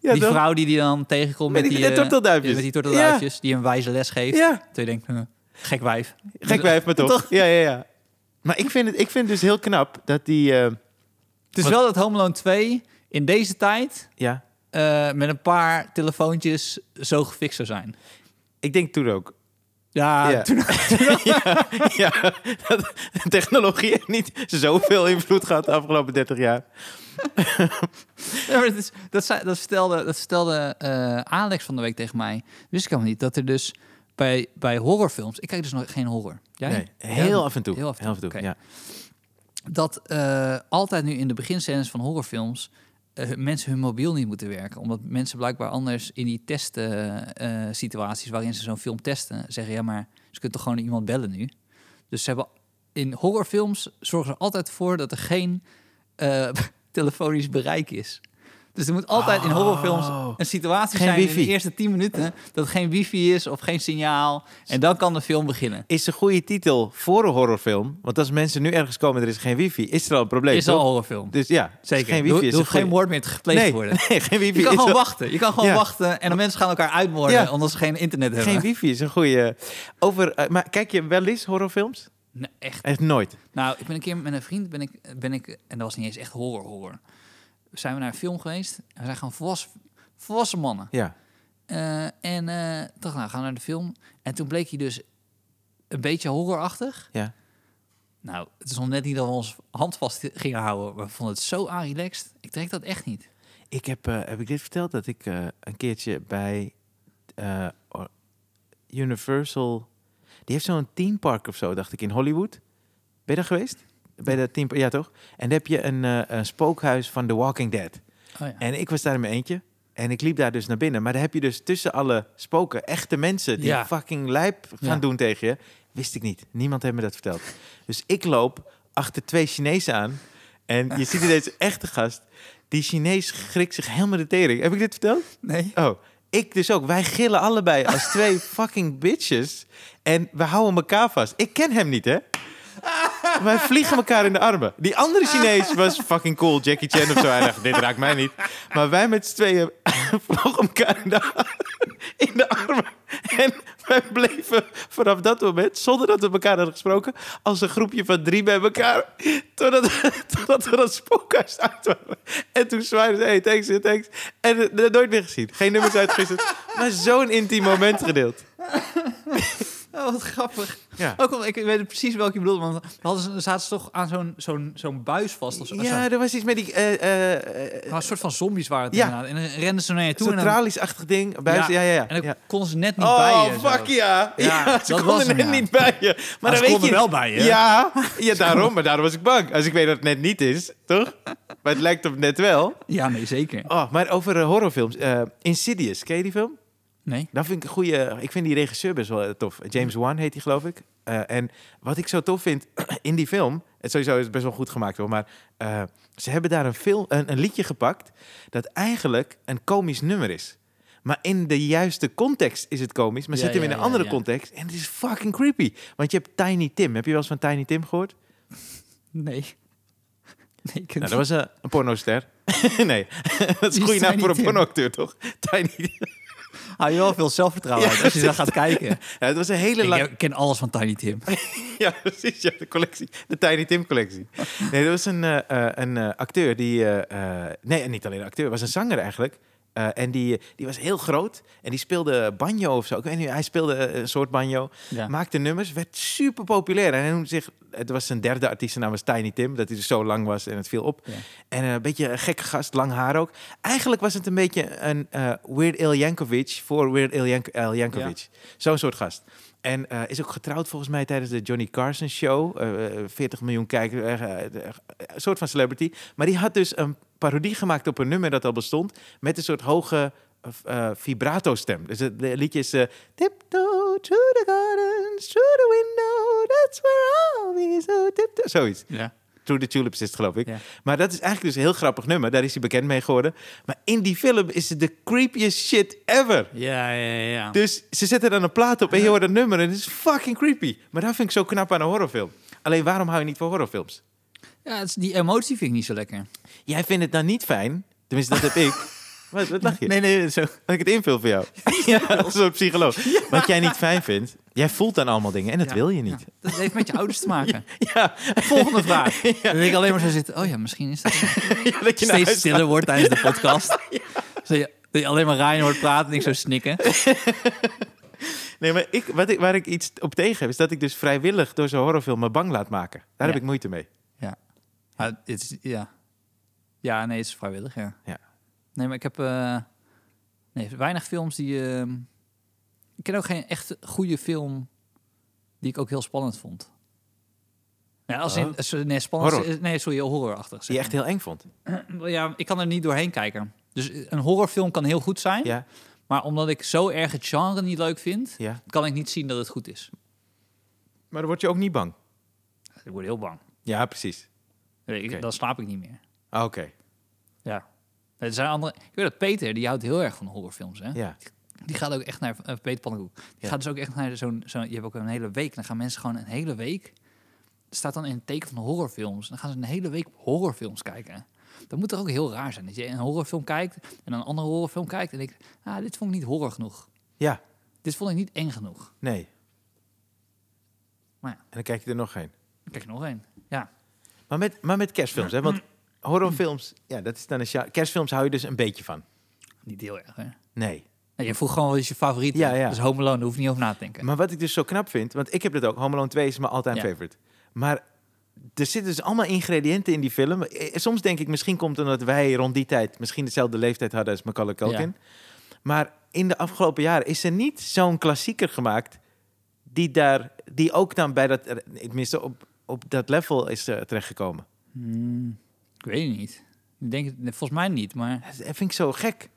Speaker 1: Ja,
Speaker 2: die
Speaker 1: toch?
Speaker 2: vrouw die die dan tegenkomt
Speaker 1: Met
Speaker 2: met
Speaker 1: die-
Speaker 2: die,
Speaker 1: de
Speaker 2: eh,
Speaker 1: tortelduifjes.
Speaker 2: Met die tortelduifjes, die een wijze les geeft.
Speaker 1: Ja.
Speaker 2: Toen je denkt, hm, gek wijf. Dus, eh,
Speaker 1: Gek wijf, maar toch.
Speaker 2: Toch?
Speaker 1: Ja, ja, ja. Maar ik vind het, ik vind het dus heel knap dat die... eh,
Speaker 2: Het is
Speaker 1: Wat-
Speaker 2: wel dat Home Alone 2 in deze tijd
Speaker 1: ja,
Speaker 2: eh, met een paar telefoontjes zo gefixt zou zijn.
Speaker 1: ik denk toen ook.
Speaker 2: Ja,
Speaker 1: Ja.
Speaker 2: Ah, toen
Speaker 1: ja, ja, dat technologie heeft niet zoveel invloed gehad de afgelopen 30 jaar.
Speaker 2: Ja, maar dat, is, dat, zei- dat vertelde, dat vertelde eh, Alex van de week tegen mij. Wist ik helemaal niet. Dat er dus bij, bij horrorfilms... Ik kijk dus nog geen horror. Jij?
Speaker 1: Nee,
Speaker 2: Jij
Speaker 1: heel
Speaker 2: ook
Speaker 1: af en toe.
Speaker 2: Heel af en toe, oké.
Speaker 1: ja.
Speaker 2: dat eh, altijd nu in de beginscènes van horrorfilms eh, hun- mensen hun mobiel niet moeten werken. Omdat mensen blijkbaar anders in die testen eh, situaties waarin ze zo'n film testen, zeggen ja, maar ze kunnen toch gewoon iemand bellen nu. Dus ze hebben in horrorfilms zorgen ze altijd voor dat er geen eh, telefonisch bereik is. Dus er moet altijd in horrorfilms een situatie
Speaker 1: Oh. Geen
Speaker 2: zijn in
Speaker 1: wifi.
Speaker 2: de eerste 10 minuten dat er geen wifi is of geen signaal. En dan kan de film beginnen.
Speaker 1: Is een goede titel voor een horrorfilm. Want als mensen nu ergens komen en er is geen wifi, is er al een probleem.
Speaker 2: Is al een
Speaker 1: toch?
Speaker 2: horrorfilm.
Speaker 1: Dus ja,
Speaker 2: Zeker.
Speaker 1: geen wifi.
Speaker 2: Er
Speaker 1: is
Speaker 2: hoeft
Speaker 1: een
Speaker 2: geen
Speaker 1: goeie-
Speaker 2: moord meer te gepleegd te
Speaker 1: nee,
Speaker 2: worden.
Speaker 1: nee, geen wifi.
Speaker 2: Je kan
Speaker 1: is
Speaker 2: gewoon
Speaker 1: al-
Speaker 2: wachten. Je kan gewoon
Speaker 1: Ja.
Speaker 2: wachten. En de mensen gaan elkaar uitmoorden
Speaker 1: Ja.
Speaker 2: omdat ze geen internet hebben.
Speaker 1: Geen wifi is een goede. Over, eh, maar kijk je wel eens horrorfilms?
Speaker 2: Nee, echt.
Speaker 1: Echt nooit.
Speaker 2: Nou, ik ben een keer met een vriend, ben ik, ben ik, en dat was niet eens echt horror horror. Zijn we naar een film geweest. En we zijn gewoon volwassen, volwassen mannen.
Speaker 1: Ja.
Speaker 2: Eh, en eh toch, nou, gaan we naar de film. En toen bleek hij dus een beetje horrorachtig.
Speaker 1: Ja.
Speaker 2: Nou, het is nog net niet dat we ons hand vast gingen houden. Maar we vonden het zo aanrelaxed. Ik trek dat echt niet.
Speaker 1: Ik heb, eh, heb ik dit verteld dat ik eh, een keertje bij eh, or- Universal. Die heeft zo'n theme park of zo, dacht ik, in Hollywood. Ben je daar geweest? Bij dat theme park, ja toch? En dan heb je een, eh, een spookhuis van The Walking Dead.
Speaker 2: Oh ja.
Speaker 1: En ik was daar in mijn eentje. En ik liep daar dus naar binnen. Maar dan heb je dus tussen alle spoken echte mensen die
Speaker 2: Ja.
Speaker 1: fucking lijp gaan
Speaker 2: Ja.
Speaker 1: doen tegen je. Wist ik niet. Niemand heeft me dat verteld. Dus ik loop achter twee Chinezen aan. En je ziet deze echte gast. Die Chinees schrikt zich helemaal de tering. Heb ik dit verteld?
Speaker 2: Nee.
Speaker 1: Oh, ik dus ook. Wij gillen allebei als twee fucking bitches. En we houden elkaar vast. Ik ken hem niet, hè? Wij vliegen elkaar in de armen. Die andere Chinees was fucking cool, Jackie Chan of zo. Hij dacht, dit raakt mij niet. Maar wij met z'n tweeën vlogen elkaar in de, ar- in de armen. En wij bleven vanaf dat moment, zonder dat we elkaar hadden gesproken... als een groepje van drie bij elkaar. Totdat, totdat we dat spookhuis uit waren. En toen zwaaiden ze, hey, thanks, eh, thanks. En eh, nooit meer gezien. Geen nummers uitgewisseld. Maar zo'n intiem moment gedeeld.
Speaker 2: Oh, wat grappig.
Speaker 1: Ja.
Speaker 2: Ook al, Oh, ik weet het precies welke je bedoelt, want we hadden ze, zaten ze toch aan zo'n zo'n zo'n buis vast of zo.
Speaker 1: Ja,
Speaker 2: Zo'n-
Speaker 1: er was iets met die... eh, eh, eh,
Speaker 2: nou, een soort van zombies waren het
Speaker 1: Ja.
Speaker 2: inderdaad. En dan renden ze naar je toe.
Speaker 1: Zo'n
Speaker 2: en dan,
Speaker 1: tralies-achtig ding. Buis, ja, ja, ja.
Speaker 2: En dan
Speaker 1: ja.
Speaker 2: konden ze net niet bij
Speaker 1: Oh,
Speaker 2: je. zo.
Speaker 1: fuck ja. Ja,
Speaker 2: Ja,
Speaker 1: ze
Speaker 2: dat was
Speaker 1: konden
Speaker 2: hem,
Speaker 1: net
Speaker 2: ja.
Speaker 1: niet bij je. Maar,
Speaker 2: Maar
Speaker 1: dan
Speaker 2: ze
Speaker 1: weet
Speaker 2: konden
Speaker 1: je...
Speaker 2: wel bij je.
Speaker 1: Ja, ja, daarom. Maar daarom was ik bang. Als ik weet dat het net niet is, toch? Maar het lijkt op net wel.
Speaker 2: Ja, nee, zeker.
Speaker 1: Oh, maar over eh, horrorfilms. eh, Insidious, ken je die film?
Speaker 2: Nee.
Speaker 1: Dat vind ik een goede. Ik vind die regisseur best wel eh, tof. James Wan heet hij, geloof ik. Eh, en wat ik zo tof vind in die film. Het sowieso is het best wel goed gemaakt hoor. Maar eh, ze hebben daar een, film, een, een liedje gepakt. dat eigenlijk een komisch nummer is. Maar in de juiste context is het komisch. Maar
Speaker 2: Ja,
Speaker 1: zet hem
Speaker 2: ja,
Speaker 1: in een
Speaker 2: ja,
Speaker 1: andere
Speaker 2: ja.
Speaker 1: context. En het is fucking creepy. Want je hebt Tiny Tim. Heb je wel eens van Tiny Tim gehoord?
Speaker 2: Nee. Nee, ik
Speaker 1: Nou, dat was eh, een pornoster. nee, dat is
Speaker 2: Wie
Speaker 1: een goede
Speaker 2: is
Speaker 1: naam
Speaker 2: Tiny
Speaker 1: voor een
Speaker 2: Tim?
Speaker 1: pornoacteur toch? Tiny
Speaker 2: hou je wel veel zelfvertrouwen uit als je daar gaat kijken.
Speaker 1: Ja, het was een hele
Speaker 2: Ik,
Speaker 1: lange...
Speaker 2: ik ken alles van Tiny Tim.
Speaker 1: Ja, precies. Ja, de collectie. De Tiny Tim collectie. Nee, dat was een, eh, eh, een eh, acteur die... eh, eh, nee, en niet alleen een acteur. was een zanger eigenlijk. Eh, en die, die was heel groot. En die speelde banjo of zo. Ik weet niet, hij speelde eh, een soort banjo.
Speaker 2: Ja.
Speaker 1: Maakte nummers. Werd super populair. En hij noemde zich... Het was zijn derde artiest. Zijn naam was Tiny Tim. Dat hij dus zo lang was en het viel op.
Speaker 2: Ja.
Speaker 1: En eh, een beetje een gekke gast. Lang haar ook. Eigenlijk was het een beetje een eh Weird Al Yankovic voor Weird Al, Yank- Al Yankovic. Zo'n soort gast. En eh, is ook getrouwd volgens mij tijdens de Johnny Carson show. Eh, eh, 40 miljoen kijkers, eh, eh, eh, een soort van celebrity. Maar die had dus een parodie gemaakt op een nummer dat al bestond. Met een soort hoge eh, eh, vibrato stem. Dus het liedje is... eh, Tiptoe through the gardens, through the window. That's where I'll be. So tiptoe. Zoiets.
Speaker 2: Ja.
Speaker 1: Through the Tulips is het, geloof ik.
Speaker 2: Ja.
Speaker 1: Maar dat is eigenlijk dus een heel grappig nummer. Daar is hij bekend mee geworden. Maar in die film is het de creepiest shit ever.
Speaker 2: Ja, ja, ja.
Speaker 1: Dus ze zetten dan een plaat op en je hoort een nummer en het is fucking creepy. Maar dat vind ik zo knap aan een horrorfilm. Alleen waarom hou je niet van horrorfilms?
Speaker 2: ja het is- die emotie vind ik niet zo lekker.
Speaker 1: Jij vindt het dan niet fijn, tenminste dat heb ik. Wat, wat lach je?
Speaker 2: Nee, nee, zo.
Speaker 1: Dat ik het invul voor jou. ja, zo'n psycholoog. Wat jij niet fijn vindt, jij voelt dan allemaal dingen en dat
Speaker 2: Ja,
Speaker 1: wil je niet.
Speaker 2: ja. Dat heeft met je ouders te maken.
Speaker 1: Ja,
Speaker 2: Volgende vraag. Dan denk ik alleen maar zo zitten. Oh ja, misschien is dat...
Speaker 1: ja, dat je naar
Speaker 2: steeds
Speaker 1: huis gaat.
Speaker 2: stiller wordt tijdens de podcast. Zo je, dat je alleen maar Ryan hoort praten en ik zo snikken.
Speaker 1: Nee, maar ik, wat ik, waar ik iets op tegen heb, is dat ik dus vrijwillig door zo'n horrorfilm me bang laat maken. Daar
Speaker 2: Ja.
Speaker 1: heb ik moeite mee.
Speaker 2: Ja. Maar het is, ja. ja, nee, het is vrijwillig, ja.
Speaker 1: Ja.
Speaker 2: Nee, maar ik heb eh, nee, weinig films die... ehm, ik ken ook geen echt goede film die ik ook heel spannend vond. Ja, als in,
Speaker 1: Oh.
Speaker 2: als- nee, spannend,
Speaker 1: Horror.
Speaker 2: nee, sorry, heel horrorachtig.
Speaker 1: Die
Speaker 2: Zeg
Speaker 1: je echt heel eng vond.
Speaker 2: maar. Ja, ik kan er niet doorheen kijken. Dus een horrorfilm kan heel goed zijn,
Speaker 1: Ja,
Speaker 2: maar omdat ik zo erg het genre niet leuk vind,
Speaker 1: ja.
Speaker 2: kan ik niet zien dat het goed is.
Speaker 1: Maar dan word je ook niet bang.
Speaker 2: Ik word heel bang.
Speaker 1: Ja, precies.
Speaker 2: Ik-
Speaker 1: Oké.
Speaker 2: Dan slaap ik niet meer.
Speaker 1: Ah, Oké,
Speaker 2: Ja. Er zijn andere... Ik weet dat Peter, die houdt heel erg van horrorfilms, hè?
Speaker 1: ja.
Speaker 2: Die gaat ook echt naar... eh, Peter Pannenkoek. Die
Speaker 1: Ja.
Speaker 2: gaat dus ook echt naar zo'n... zo'n je hebt ook een hele week. Dan gaan mensen gewoon een hele week... Het staat dan in het teken van horrorfilms. Dan gaan ze een hele week horrorfilms kijken. Dat moet toch ook heel raar zijn. Dat je een horrorfilm kijkt en dan een andere horrorfilm kijkt... en denkt, ah, dit vond ik niet horror genoeg.
Speaker 1: Ja,
Speaker 2: Dit vond ik niet eng genoeg.
Speaker 1: nee.
Speaker 2: Maar ja.
Speaker 1: En dan kijk je er nog geen.
Speaker 2: Dan kijk je nog één. Ja.
Speaker 1: Maar met, maar met kerstfilms, hè? Want horrorfilms, ja, dat is dan een... sja- Kerstfilms hou je dus een beetje van.
Speaker 2: Niet heel erg, hè?
Speaker 1: Nee.
Speaker 2: Nou, je vroeg gewoon wat is je favoriet.
Speaker 1: Ja, ja.
Speaker 2: Dus Home Alone, daar hoef je niet over na te denken.
Speaker 1: Maar wat ik dus zo knap vind, want ik heb dat ook, Home Alone 2 is mijn all-time
Speaker 2: Ja.
Speaker 1: favorite. Maar er zitten dus allemaal ingrediënten in die film. Eh, Soms denk ik, misschien komt het omdat wij rond die tijd misschien dezelfde leeftijd hadden als Macaulay Culkin. Maar in de afgelopen jaren is er niet zo'n klassieker gemaakt die daar, die ook dan bij dat, eh, tenminste op, op dat level is eh, terechtgekomen.
Speaker 2: Hmm, ik weet het niet. Ik denk, het- nee, volgens mij niet, maar...
Speaker 1: Dat vind ik zo gek.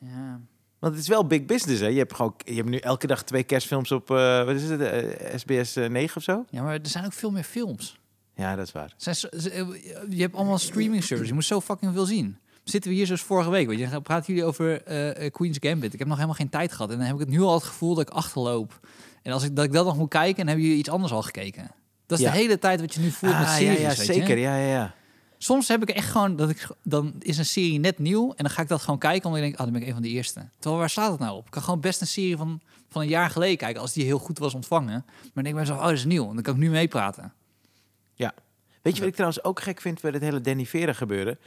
Speaker 2: Ja.
Speaker 1: Want het is wel big business, hè? Je hebt, gewoon, je hebt nu elke dag twee kerstfilms op, eh, wat is het, eh, SBS eh, 9 of zo?
Speaker 2: ja, maar er zijn ook veel meer films.
Speaker 1: Ja, dat is waar.
Speaker 2: Er Zijn, zo- ze- je hebt allemaal streaming services. Je moet zo fucking veel zien. Zitten we hier zoals vorige week? Weet je, dan praten jullie over eh, eh, Queen's Gambit. Ik heb nog helemaal geen tijd gehad. En dan heb ik het nu al het gevoel dat ik achterloop. En als ik dat, ik dat nog moet kijken, dan hebben jullie iets anders al gekeken. Dat is
Speaker 1: Ja.
Speaker 2: de hele tijd wat je nu voelt met
Speaker 1: Ah,
Speaker 2: series,
Speaker 1: ja, ja
Speaker 2: weet je.
Speaker 1: zeker. Ja, ja, ja.
Speaker 2: Soms heb ik echt gewoon dat ik dan is een serie net nieuw en dan ga ik dat gewoon kijken omdat ik denk, ah, dan ben ik een van de eerste. Terwijl waar staat het nou op? Ik kan gewoon best een serie van, van een jaar geleden kijken als die heel goed was ontvangen. Maar dan denk ik bij mezelf, oh, dat is nieuw. En dan kan ik nu meepraten.
Speaker 1: Weet je wat ik trouwens ook gek vind bij het hele Danny Vera gebeuren?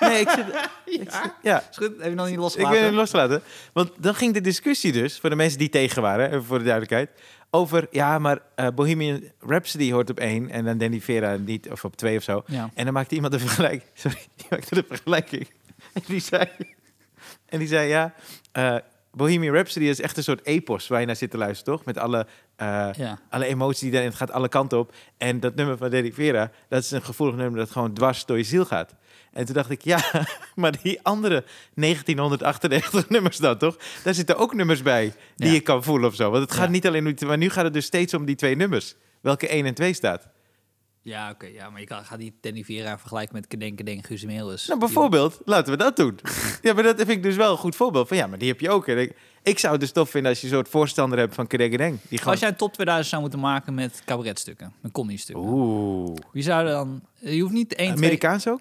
Speaker 1: nee, ik zit... ik zit- ja.
Speaker 2: Is goed, heb je nog niet
Speaker 1: Ik
Speaker 2: losgelaten?
Speaker 1: wil hem loslaten. Want dan ging de discussie dus, voor de mensen die tegen waren, even voor de duidelijkheid, over, ja, maar eh, Bohemian Rhapsody hoort op één en dan Danny Vera niet, of op twee of zo.
Speaker 2: Ja.
Speaker 1: En dan maakte iemand een vergelijking. Sorry, die maakte de vergelijking. En die zei, en die zei ja, eh, Bohemian Rhapsody is echt een soort epos waar je naar zit te luisteren, toch? Met alle... eh,
Speaker 2: Ja.
Speaker 1: alle emotie die daarin het gaat alle kanten op. En dat nummer van Derek Vera, dat is een gevoelig nummer dat gewoon dwars door je ziel gaat. En toen dacht ik, ja, maar die andere 1998 nummers dan toch? Daar zitten ook nummers bij die
Speaker 2: Ja.
Speaker 1: je kan voelen of zo. Want het gaat
Speaker 2: Ja.
Speaker 1: niet alleen om die, maar nu gaat het dus steeds om die twee nummers. Welke 1 en 2 staat.
Speaker 2: Ja, oké. ja, maar je kan, gaat die Danny Vera vergelijken met Kedenken Denk Guus Meeuwis.
Speaker 1: Nou, bijvoorbeeld, laten we dat doen. ja, maar dat vind ik dus wel een goed voorbeeld van, ja, maar die heb je ook. En ik, ik zou het dus tof vinden als je een soort voorstander hebt van Kedengedeng. Die
Speaker 2: Als
Speaker 1: gewoon...
Speaker 2: jij een top 2000 zou moeten maken met cabaretstukken, met comedy-stukken.
Speaker 1: Oeh.
Speaker 2: Wie zou er dan... Je hoeft niet één, twee-
Speaker 1: Amerikaans ook?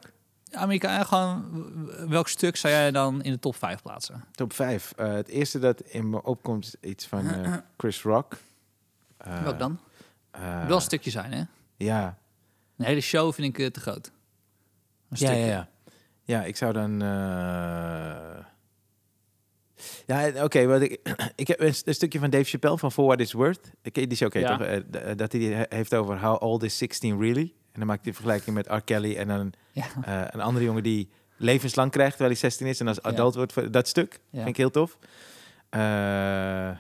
Speaker 2: Amerika, gewoon welk stuk zou jij dan in de top 5 plaatsen?
Speaker 1: Top 5. het eerste dat in me opkomt is iets van eh, Chris Rock. Eh,
Speaker 2: Welk dan?
Speaker 1: eh,
Speaker 2: Wel een stukje zijn, hè?
Speaker 1: ja.
Speaker 2: Een hele show vind ik eh, te groot. Een
Speaker 1: ja,
Speaker 2: stukje.
Speaker 1: ja, ja. Ja, ik zou dan... eh, Ja, en oké. wat ik, ik heb een, s- een stukje van Dave Chappelle van For What It's Worth. Ik, die is oké,
Speaker 2: Ja.
Speaker 1: toch? Eh, d- eh, dat hij die he- heeft over How Old Is 16 Really? En dan maakt hij een vergelijking met R. Kelly en dan
Speaker 2: Ja.
Speaker 1: eh, een andere jongen die levenslang krijgt terwijl hij 16 is en als
Speaker 2: Ja.
Speaker 1: adult wordt. voor- Dat stuk
Speaker 2: Ja.
Speaker 1: vind ik heel tof. Eh,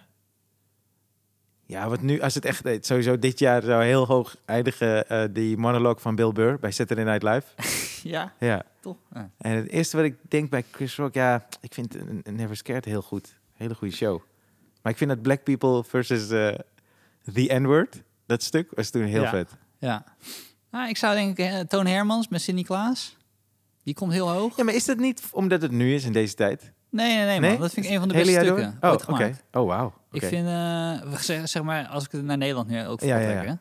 Speaker 1: ja, wat nu, als het echt eh, sowieso dit jaar zou heel hoog eindigen, eh, die monoloog van Bill Burr bij Saturday Night Live.
Speaker 2: Ja,
Speaker 1: ja.
Speaker 2: toch? Ja.
Speaker 1: En het eerste wat ik denk bij Chris Rock, ja, ik vind eh, Never Scared heel goed. Hele goede show. Maar ik vind dat Black People versus eh, The N-Word, dat stuk, was toen heel
Speaker 2: Ja.
Speaker 1: vet.
Speaker 2: ja. Nou, ik zou denk ik eh, Toon Hermans met Sidney Klaas. Die komt heel hoog.
Speaker 1: Ja, maar is dat niet omdat het nu is in deze tijd?
Speaker 2: Nee, nee, nee, man.
Speaker 1: Nee?
Speaker 2: Dat vind ik een van de
Speaker 1: Hele
Speaker 2: beste
Speaker 1: jaar door?
Speaker 2: stukken
Speaker 1: Oh,
Speaker 2: ooit
Speaker 1: oké.
Speaker 2: gemaakt.
Speaker 1: Oh, wauw.
Speaker 2: Ik
Speaker 1: Oké.
Speaker 2: vind, eh, zeg, zeg maar, als ik het naar Nederland nu ook
Speaker 1: Ja,
Speaker 2: vertrek,
Speaker 1: ja, ja.
Speaker 2: hè.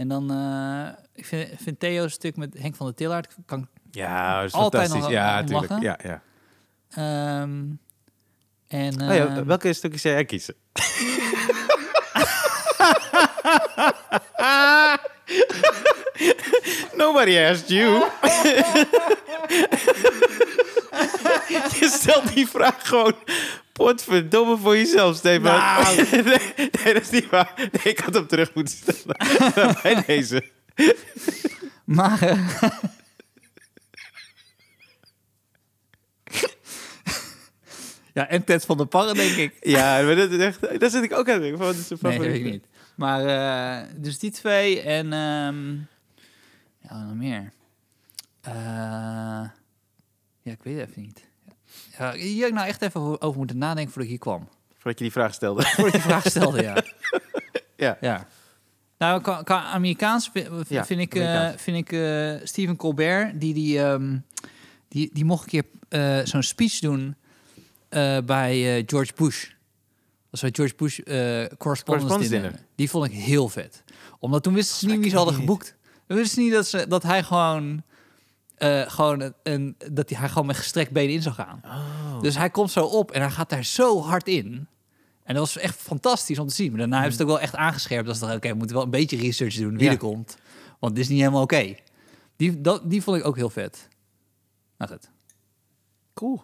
Speaker 2: En dan, eh, ik vind, vind Theo's stuk met Henk van der Tillaert, kan,
Speaker 1: Ja, dat is
Speaker 2: Altijd
Speaker 1: fantastisch.
Speaker 2: nog
Speaker 1: ja,
Speaker 2: om
Speaker 1: tuurlijk.
Speaker 2: lachen.
Speaker 1: Ja, ja.
Speaker 2: Ehm, en,
Speaker 1: Oh ja,
Speaker 2: ehm,
Speaker 1: welke stukjes zou jij kiezen? Nobody asked you. je stelt die vraag gewoon potverdomme voor jezelf, Stefan.
Speaker 2: Nou.
Speaker 1: Nee, nee, dat is niet waar. Nee, ik had hem terug moeten stellen. Bij deze.
Speaker 2: Maar. eh, ja, en Ted van der Parren, denk ik.
Speaker 1: Ja, maar dat is echt... Daar zit ik ook aan te denken. van, wat is je
Speaker 2: Nee, dat weet
Speaker 1: favoriete?
Speaker 2: ik niet. Maar, eh, dus die twee en. ehm ja, wat nog meer. Eh, ja, ik weet het even niet. Ja, hier heb ik nou echt even over moeten nadenken voordat ik hier kwam.
Speaker 1: Voordat je die vraag stelde.
Speaker 2: Voordat je vraag stelde, ja.
Speaker 1: Ja.
Speaker 2: Nou, qua, qua Amerikaans vi- v-
Speaker 1: Ja,
Speaker 2: vind ik, eh,
Speaker 1: Amerikaans.
Speaker 2: vind ik eh, Stephen Colbert, die, die, ehm, die, die mocht een keer eh, zo'n speech doen eh, bij eh, George Bush. Dat was bij George Bush eh correspondence,
Speaker 1: Correspondence
Speaker 2: dinner.
Speaker 1: dinner.
Speaker 2: Die vond ik heel vet. Omdat toen wisten ze niet
Speaker 1: mij
Speaker 2: wie ze
Speaker 1: ken
Speaker 2: hadden
Speaker 1: ik
Speaker 2: geboekt. Toen wisten ze niet dat, ze, dat hij gewoon... eh, gewoon een, een- dat hij, hij gewoon met gestrekt benen in zou gaan. Dus hij komt zo op en hij gaat daar zo hard in. En dat was echt fantastisch om te zien. Maar daarna hebben ze het ook wel echt aangescherpt. Dat ze dachten, oké, we moeten wel een beetje research doen wie
Speaker 1: Ja.
Speaker 2: er komt. Want dit is niet helemaal oké. Die, dat, die vond ik ook heel vet. Nou goed.
Speaker 1: Cool.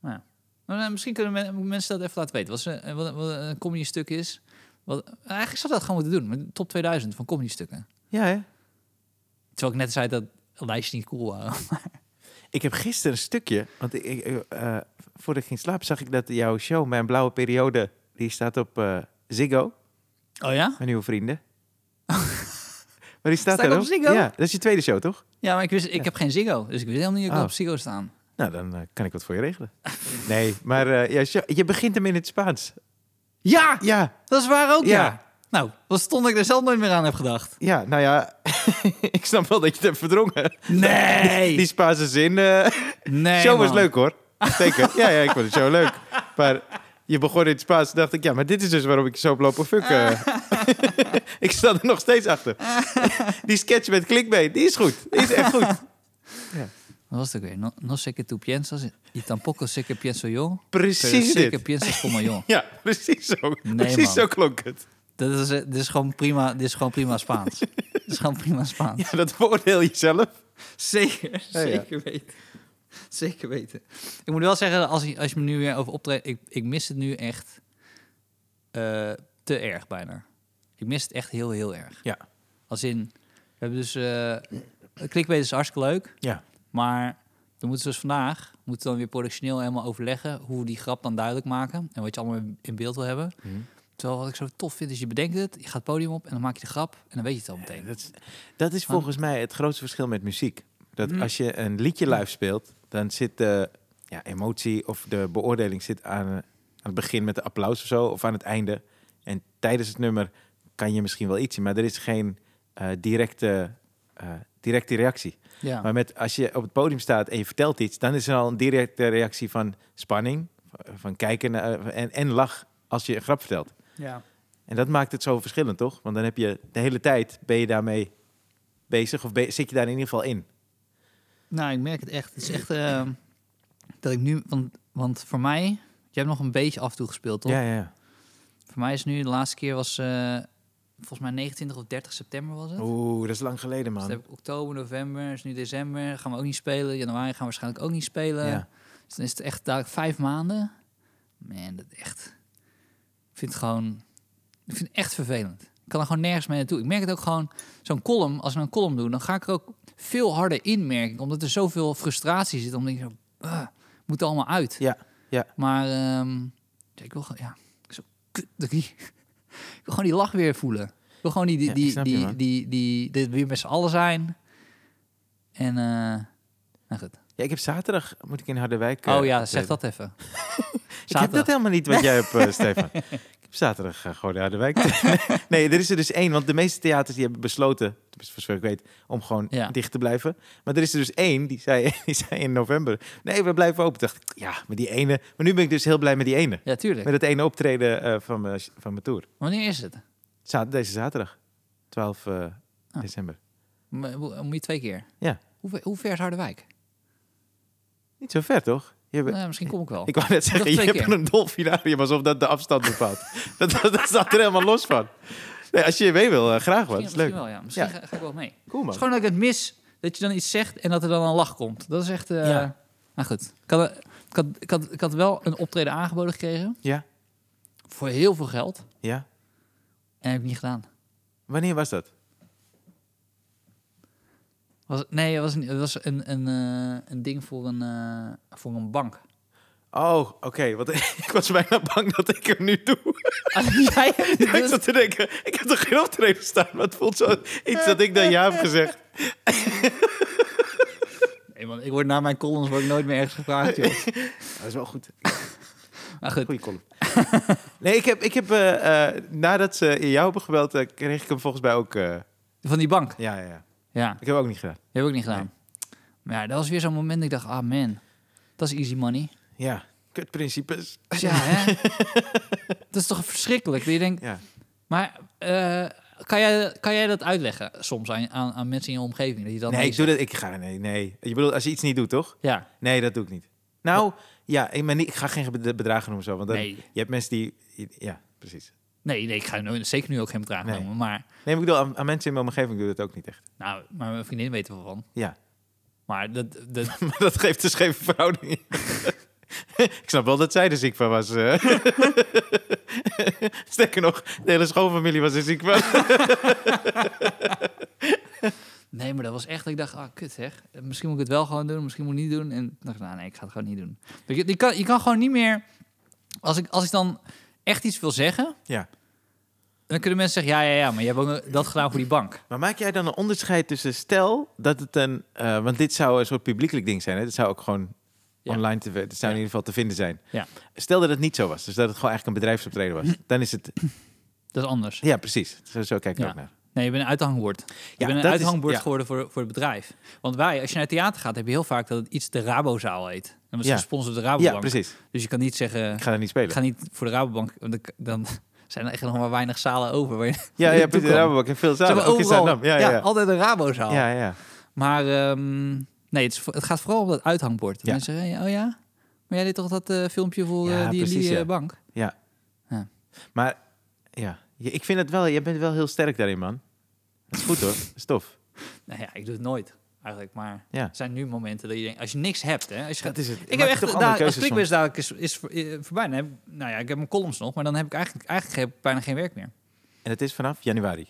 Speaker 2: Nou, ja. Maar, eh, misschien kunnen men- mensen dat even laten weten. Wat, ze, eh, wat, wat een comedy stuk is. Wat, eigenlijk zou dat gewoon moeten doen. Met de top 2000 van comedy stukken.
Speaker 1: Ja, hè?
Speaker 2: Terwijl ik net zei dat lijstjes niet cool waren.
Speaker 1: Ik heb gisteren een stukje, want ik, ik, eh, eh, voordat ik ging slapen zag ik dat jouw show, Mijn Blauwe Periode, die staat op eh, Ziggo,
Speaker 2: Oh ja?
Speaker 1: mijn nieuwe vrienden. maar die staat
Speaker 2: Sta ik
Speaker 1: er
Speaker 2: op Ziggo?
Speaker 1: Ja, dat is je tweede show, toch?
Speaker 2: Ja, maar ik, wist, ik heb geen Ziggo. Dus ik wist helemaal niet dat ik
Speaker 1: Oh.
Speaker 2: op Ziggo staan.
Speaker 1: Nou, dan eh, kan ik wat voor je regelen. nee, maar eh, jouw show- je begint hem in het Spaans.
Speaker 2: Ja!
Speaker 1: Ja,
Speaker 2: Dat is waar ook, ja.
Speaker 1: Ja.
Speaker 2: Nou, wat stond ik er zelf nooit meer aan heb gedacht.
Speaker 1: ja, nou ja, ik snap wel dat je het hebt verdrongen.
Speaker 2: Nee!
Speaker 1: Die Spaanse zin. eh,
Speaker 2: nee,
Speaker 1: show was
Speaker 2: man.
Speaker 1: leuk hoor. Zeker. Ja, ja, ik vond de show leuk. Maar je begon in het Spaans. dacht ik, ja, maar dit is dus waarom ik zo heb lopen fucken. ik sta er nog steeds achter. die sketch met clickbait, die is goed. Die is echt goed.
Speaker 2: Wat was het ook weer? No, no sé que tú piensas, y tampoco sé que pienso yo. Pero
Speaker 1: Precies
Speaker 2: sé que
Speaker 1: dit.
Speaker 2: piensas como yo.
Speaker 1: Ja, precies zo.
Speaker 2: Nee,
Speaker 1: precies
Speaker 2: man.
Speaker 1: zo klonk het.
Speaker 2: Dat is, eh, dit, is gewoon prima, dit is gewoon prima Spaans. dit is gewoon prima Spaans.
Speaker 1: Ja, dat beoordeel je zelf.
Speaker 2: Zeker, zeker weten. Zeker weten. Ik moet wel zeggen, als je, als je me nu weer over optreedt... Ik, ik mis het nu echt eh, te erg bijna. Ik mis het echt heel, heel erg.
Speaker 1: Ja.
Speaker 2: Als in, we hebben dus... eh clickbait is hartstikke leuk.
Speaker 1: Ja.
Speaker 2: Maar dan moeten ze dus vandaag... moeten we dan weer productioneel helemaal overleggen... hoe we die grap dan duidelijk maken... en wat je allemaal in beeld wil hebben. Terwijl wat ik zo tof vind is, je bedenkt het... je gaat het podium op en dan maak je de grap... en dan weet je het al meteen.
Speaker 1: Dat is, dat is volgens mij het grootste verschil met muziek. Dat als je een liedje live speelt, dan zit de ja, emotie of de beoordeling zit aan, aan het begin met de applaus of zo, of aan het einde. En tijdens het nummer kan je misschien wel iets zien, maar er is geen eh, directe, eh, directe reactie.
Speaker 2: Ja.
Speaker 1: Maar met, als je op het podium staat en je vertelt iets, dan is er al een directe reactie van spanning, van kijken naar- eh, en, en lach als je een grap vertelt.
Speaker 2: ja.
Speaker 1: En dat maakt het zo verschillend, toch? Want dan heb je de hele tijd, ben je daarmee bezig of be- zit je daar in ieder geval in?
Speaker 2: Nou, ik merk het echt. Het is echt ehm, dat ik nu... Want, want voor mij... Je hebt nog een beetje af en toe gespeeld, toch?
Speaker 1: ja, ja.
Speaker 2: Voor mij is nu... De laatste keer was... eh, volgens mij 29 of 30 september was het.
Speaker 1: Oeh, dat is lang geleden,
Speaker 2: Dus
Speaker 1: Oh, man.
Speaker 2: dan heb ik oktober, november, is nu december. Gaan we ook niet spelen. Januari gaan we waarschijnlijk ook niet spelen.
Speaker 1: Ja.
Speaker 2: Dus dan is het echt dadelijk vijf maanden. Man, dat echt... Ik vind het gewoon... Ik vind het echt vervelend. Ik kan er gewoon nergens mee naartoe. Ik merk het ook gewoon... Zo'n column, als we een column doen... dan ga ik er ook veel harder in merken. Omdat er zoveel frustratie zit. Omdat ik zo... ah, moet er allemaal uit.
Speaker 1: Ja, ja.
Speaker 2: Maar ehm, ja, ik wil gewoon... Ja, zo, kut, dat ik die- ik wil gewoon die lach weer voelen. Ik wil gewoon die... die,
Speaker 1: Ja, ik
Speaker 2: die,
Speaker 1: snap je,
Speaker 2: die,
Speaker 1: man.
Speaker 2: die, die, dit weer met z'n allen zijn. En... eh nou goed.
Speaker 1: Ja, ik heb zaterdag, moet ik in Harderwijk... eh,
Speaker 2: Oh ja, zeg
Speaker 1: optreden.
Speaker 2: dat even.
Speaker 1: Ik heb dat
Speaker 2: Zaterdag.
Speaker 1: helemaal niet wat jij hebt, eh, Stefan. Ik heb zaterdag eh, gewoon in Harderwijk. nee, er is er dus één, want de meeste theaters die hebben besloten, tenminste, voor zover ik weet, om gewoon
Speaker 2: Ja.
Speaker 1: dicht te blijven. Maar er is er dus één, die zei, die zei in november, nee, we blijven open. Dacht ik, ja, met die ene. Maar nu ben ik dus heel blij met die ene.
Speaker 2: Ja, tuurlijk.
Speaker 1: Met het ene optreden eh, van mijn van mijn tour.
Speaker 2: Wanneer is het?
Speaker 1: Za- deze zaterdag, 12 eh,
Speaker 2: Ah.
Speaker 1: december.
Speaker 2: M- mo- eh, Moet je twee keer?
Speaker 1: Ja.
Speaker 2: Hoe ver, hoe ver is Harderwijk?
Speaker 1: Niet zo ver, toch? Je hebt-
Speaker 2: Nou ja, misschien kom ik wel.
Speaker 1: ik wou net zeggen,
Speaker 2: twee
Speaker 1: je hebt
Speaker 2: keer.
Speaker 1: een dolfinarium alsof dat de afstand bepaalt. dat, dat, dat staat er helemaal los van. Nee, als je mee wil, eh, graag wat. is
Speaker 2: misschien,
Speaker 1: leuk.
Speaker 2: misschien wel, ja. Misschien
Speaker 1: Ja.
Speaker 2: Ga, ga ik wel mee.
Speaker 1: Cool
Speaker 2: Het
Speaker 1: man.
Speaker 2: is gewoon dat ik het mis dat je dan iets zegt en dat er dan een lach komt. Dat is echt... eh
Speaker 1: Ja.
Speaker 2: Nou goed, ik had, ik, had, ik, had, ik had wel een optreden aangeboden gekregen
Speaker 1: Ja,
Speaker 2: voor heel veel geld
Speaker 1: ja.
Speaker 2: en heb ik niet gedaan.
Speaker 1: Wanneer was dat?
Speaker 2: Was, nee, het was, een- het was een, een, eh, een ding voor een, eh, voor een bank.
Speaker 1: Oh, oké. want ik was bijna bang dat ik hem nu doe.
Speaker 2: Jij hebt dit
Speaker 1: ik
Speaker 2: dus-
Speaker 1: zat te denken, ik heb toch geen optreden staan? Maar het voelt zo iets dat ik dan ja heb gezegd.
Speaker 2: Nee, man, ik word na mijn columns word ik nooit meer ergens gevraagd, joh.
Speaker 1: Dat is wel goed.
Speaker 2: Maar goed,
Speaker 1: Goeie column. nee, ik heb, ik heb eh, eh, nadat ze jou hebben gebeld, eh, kreeg ik hem volgens mij ook. eh,
Speaker 2: van die bank.
Speaker 1: ja, ja, ja.
Speaker 2: Ja,
Speaker 1: Ik heb hem ook niet gedaan.
Speaker 2: die heb ik niet gedaan. Maar ja, dat was weer zo'n moment dat ik dacht, ah man, dat is easy money.
Speaker 1: Ja, kutprincipes.
Speaker 2: Ja, hè? dat is toch verschrikkelijk. Dat je denkt,
Speaker 1: Ja.
Speaker 2: maar eh, kan, jij, kan jij dat uitleggen soms aan, aan, aan mensen in je omgeving? Dat je dat
Speaker 1: nee,
Speaker 2: mee
Speaker 1: ik doe dat. Ik ga nee, nee. Je bedoelt als je iets niet doet, toch?
Speaker 2: zegt? Ja,
Speaker 1: Nee, dat doe ik niet. Nou, ja, ik, ben niet, ik ga geen bed- bedragen noemen zo, want dan,
Speaker 2: Nee.
Speaker 1: je hebt mensen die, ja, precies.
Speaker 2: nee, nee, ik ga nooit, zeker nu ook geen bedrag
Speaker 1: Nee.
Speaker 2: noemen. Maar,
Speaker 1: Nee, maar ik bedoel, aan, aan mensen in mijn omgeving doe ik dat ook niet echt.
Speaker 2: nou, maar mijn vriendin weet er wel van.
Speaker 1: Ja,
Speaker 2: Maar dat, dat,
Speaker 1: maar dat geeft een scheve verhouding. ik snap wel dat zij er ziek van was. eh. Sterker nog, de hele schoonfamilie was er ziek van.
Speaker 2: Nee, maar dat was echt dat ik dacht, ah, kut zeg. Eh, Misschien moet ik het wel gewoon doen, misschien moet ik het niet doen. En ik dacht, nou nee, ik ga het gewoon niet doen. Je, je, kan, je kan gewoon niet meer... Als ik, als ik dan echt iets wil zeggen,
Speaker 1: ja.
Speaker 2: dan kunnen mensen zeggen... Ja, ja, ja, maar je hebt ook eh, dat gedaan voor die bank.
Speaker 1: Maar maak jij dan een onderscheid tussen stel dat het een... eh, want dit zou een soort publiekelijk ding zijn. Hè? Dit zou ook gewoon
Speaker 2: Ja.
Speaker 1: online te... Dit zou in ieder
Speaker 2: Ja.
Speaker 1: geval te vinden zijn.
Speaker 2: Ja.
Speaker 1: Stel dat het niet zo was. Dus dat het gewoon eigenlijk een bedrijfsoptreden was. Dan is het...
Speaker 2: Dat is anders.
Speaker 1: Ja, precies. Zo, zo kijk ik
Speaker 2: Ja.
Speaker 1: ook naar.
Speaker 2: Nee, je bent een uithangbord. Je
Speaker 1: Ja,
Speaker 2: bent een
Speaker 1: dat is-
Speaker 2: uithangbord
Speaker 1: ja.
Speaker 2: geworden voor, voor het bedrijf. Want wij, als je naar het theater gaat, heb je heel vaak dat het iets de Rabozaal heet. Dan was
Speaker 1: Ja.
Speaker 2: gesponsord door de
Speaker 1: Ja,
Speaker 2: Rabobank.
Speaker 1: precies.
Speaker 2: dus je kan niet zeggen...
Speaker 1: Ik ga daar niet spelen.
Speaker 2: Ik ga niet voor de Rabobank, want dan, dan zijn er echt nog maar weinig zalen over. Waar je
Speaker 1: Ja, ja,
Speaker 2: naartoe
Speaker 1: precies.
Speaker 2: kan.
Speaker 1: Daar heb ik in veel
Speaker 2: Zeg
Speaker 1: zalen.
Speaker 2: maar
Speaker 1: Ook in
Speaker 2: overal.
Speaker 1: Zaandam. Ja, ja, ja.
Speaker 2: altijd een Rabozaal.
Speaker 1: Ja, ja.
Speaker 2: Maar ehm, nee, het, is vo- het gaat vooral om dat uithangbord. Dat
Speaker 1: Ja.
Speaker 2: Mensen zeggen, oh ja, maar jij deed toch dat eh, filmpje voor
Speaker 1: Ja,
Speaker 2: eh, die, en
Speaker 1: precies,
Speaker 2: die eh,
Speaker 1: ja.
Speaker 2: bank?
Speaker 1: Maar ja, Je- ik vind het wel... Je bent wel heel sterk daarin, man. Dat is goed, hoor. Dat is tof.
Speaker 2: Nou ja, ik doe het nooit eigenlijk. Maar
Speaker 1: Ja.
Speaker 2: er zijn nu momenten dat je denkt, als je niks hebt, hè, als je gaat...
Speaker 1: is het.
Speaker 2: Ik heb echt, daar, als prikbus dadelijk is, is voor- eh, voorbij, dan heb, ik- nou ja, ik heb mijn columns nog, maar dan heb ik eigenlijk, eigenlijk heb ik bijna geen werk meer.
Speaker 1: En het is vanaf januari.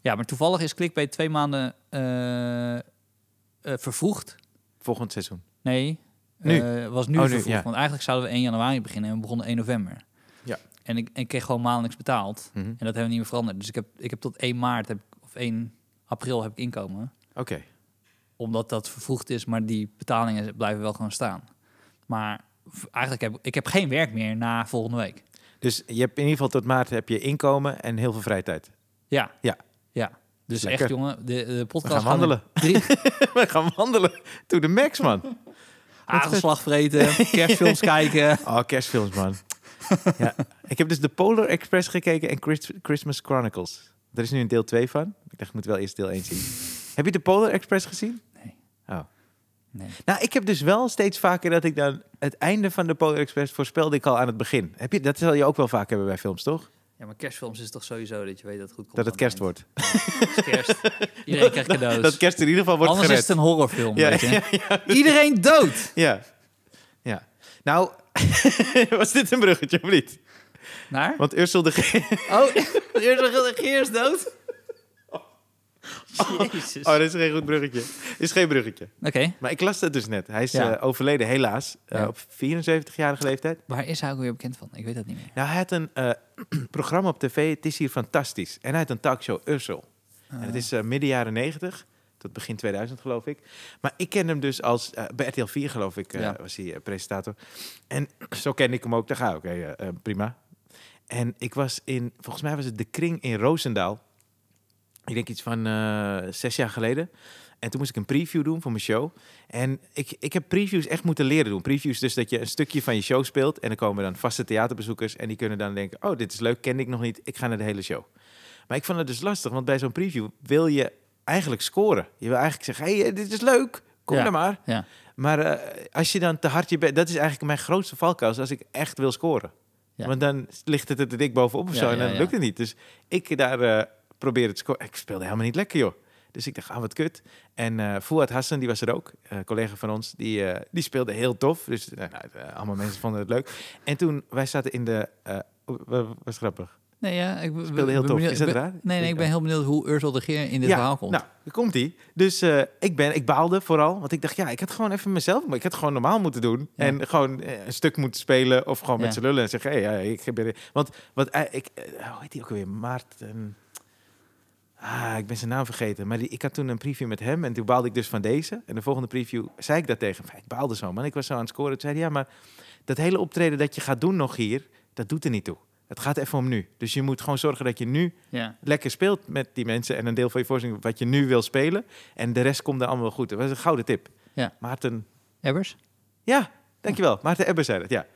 Speaker 2: Ja, maar toevallig is Clickbait twee maanden eh, eh, vervroegd.
Speaker 1: Volgend seizoen.
Speaker 2: Nee,
Speaker 1: Nu.
Speaker 2: eh, was nu
Speaker 1: Oh, nu,
Speaker 2: vervroegd,
Speaker 1: ja.
Speaker 2: want eigenlijk zouden we 1 januari beginnen en we begonnen 1 november.
Speaker 1: Ja.
Speaker 2: En ik, en ik kreeg gewoon maandelijks betaald.
Speaker 1: Mhm.
Speaker 2: En dat hebben we niet meer veranderd. Dus ik heb, ik heb tot 1 maart heb, ik- of 1 april heb ik inkomen.
Speaker 1: Oké.
Speaker 2: Omdat dat vervroegd is, maar die betalingen blijven wel gewoon staan. Maar v- eigenlijk heb ik heb geen werk meer na volgende week.
Speaker 1: Dus je hebt in ieder geval tot maart heb je inkomen en heel veel vrije tijd.
Speaker 2: Ja.
Speaker 1: Ja.
Speaker 2: ja. Dus
Speaker 1: Lekker.
Speaker 2: echt, jongen, de, de
Speaker 1: We
Speaker 2: podcast
Speaker 1: gaan wandelen.
Speaker 2: gaat drie
Speaker 1: We gaan wandelen. To the max, man.
Speaker 2: hagelslag vreten, kerstfilms kijken.
Speaker 1: Oh, kerstfilms, man. ja. Ik heb dus de Polar Express gekeken en Chris- Christmas Chronicles. Er is nu een deel 2 van. Ik dacht, ik moet wel eerst deel 1 zien. heb je de Polar Express gezien?
Speaker 2: Nee.
Speaker 1: Oh.
Speaker 2: Nee.
Speaker 1: Nou, ik heb dus wel steeds vaker dat ik dan... Het einde van de Polar Express voorspelde ik al aan het begin. Heb je, dat zal je ook wel vaak hebben bij films, toch?
Speaker 2: Ja, maar kerstfilms is toch sowieso dat je weet dat het goed komt.
Speaker 1: Dat het
Speaker 2: aan
Speaker 1: kerst
Speaker 2: eind.
Speaker 1: wordt.
Speaker 2: Het is kerst. Iedereen krijgt cadeaus.
Speaker 1: Dat kerst in ieder geval wordt
Speaker 2: dus Anders
Speaker 1: gered.
Speaker 2: is het een horrorfilm,
Speaker 1: Ja,
Speaker 2: weet je. Iedereen dood!
Speaker 1: Ja. Ja. Nou, was dit een bruggetje of niet?
Speaker 2: Naar?
Speaker 1: Want Ursel de Ge-
Speaker 2: Oh, eerst is dood? Jezus.
Speaker 1: Oh, dat is geen goed bruggetje. Is geen bruggetje.
Speaker 2: Oké,
Speaker 1: Maar ik las dat dus net. Hij is
Speaker 2: Ja.
Speaker 1: eh, overleden, helaas, eh,
Speaker 2: Ja.
Speaker 1: op 74-jarige leeftijd.
Speaker 2: waar is hij ook weer bekend van? Ik weet dat niet meer.
Speaker 1: Nou, hij had een eh, programma op tv, Het is hier fantastisch. En hij had een talkshow, Ursel. En
Speaker 2: Ah.
Speaker 1: het is eh, midden jaren 90 tot begin 2000, geloof ik. Maar ik ken hem dus als... eh, bij RTL 4, geloof ik, eh,
Speaker 2: Ja.
Speaker 1: was hij eh, presentator. En zo ken ik hem ook. Daar ga ik. Oké, eh, eh, prima. En ik was in... Volgens mij was het De Kring in Roosendaal. Ik denk iets van eh, zes jaar geleden. En toen moest ik een preview doen voor mijn show. En ik, ik heb previews echt moeten leren doen. Previews dus dat je een stukje van je show speelt... en dan komen dan vaste theaterbezoekers... en die kunnen dan denken... oh, dit is leuk, kende ik nog niet. Ik ga naar de hele show. Maar ik vond het dus lastig, want bij zo'n preview wil je eigenlijk scoren. Je wil eigenlijk zeggen, hey, eh, dit is leuk. kom
Speaker 2: Ja.
Speaker 1: dan maar.
Speaker 2: Ja.
Speaker 1: Maar eh, als je dan te hard je bent, dat is eigenlijk mijn grootste valkuil, is als ik echt wil scoren.
Speaker 2: Ja.
Speaker 1: Want dan ligt het er te dik bovenop of
Speaker 2: Ja,
Speaker 1: zo en
Speaker 2: ja,
Speaker 1: dan
Speaker 2: ja.
Speaker 1: lukt het niet. Dus ik daar eh probeer het scoren. Ik speelde helemaal niet lekker, joh. Dus ik dacht, ah, wat kut. En eh Fouad Hassan, die was er ook, eh, collega van ons, die, eh, die speelde heel tof. Dus eh, nou, eh, allemaal mensen vonden het leuk. En toen, wij zaten in de... eh oh, wa- wa- was grappig.
Speaker 2: Nee, ja, ik ben-
Speaker 1: Speelde heel
Speaker 2: ben
Speaker 1: tof.
Speaker 2: benieuwd-
Speaker 1: Is dat
Speaker 2: ben-
Speaker 1: raar?
Speaker 2: Nee, nee, ik ben heel benieuwd hoe Ursel de Geer in dit verhaal komt.
Speaker 1: Nou, daar komt hij. Dus eh, ik, ben, ik baalde vooral, want ik dacht, ja, ik had gewoon even mezelf, maar ik had gewoon normaal moeten doen.
Speaker 2: Ja.
Speaker 1: En gewoon eh, een stuk moeten spelen of gewoon
Speaker 2: Ja.
Speaker 1: met z'n lullen en zeggen, hé, hey, eh, ik ben er- Want wat, eh, ik, eh, hoe heet die ook alweer? Maarten. Ah, ik ben zijn naam vergeten. Maar die, ik had toen een preview met hem en toen baalde ik dus van deze. En de volgende preview zei ik dat tegen hem. Ik baalde zo, man. Ik was zo aan het scoren. Toen zei hij, ja, maar dat hele optreden dat je gaat doen nog hier, dat doet er niet toe. Het gaat even om nu. Dus je moet gewoon zorgen dat je nu
Speaker 2: ja.
Speaker 1: lekker speelt met die mensen en een deel van je voorstelling wat je nu wil spelen. En de rest komt dan allemaal wel goed. Dat was een gouden tip.
Speaker 2: Ja.
Speaker 1: Maarten,
Speaker 2: Ebbers?
Speaker 1: ja, dankjewel. Maarten Ebber zei dat, ja.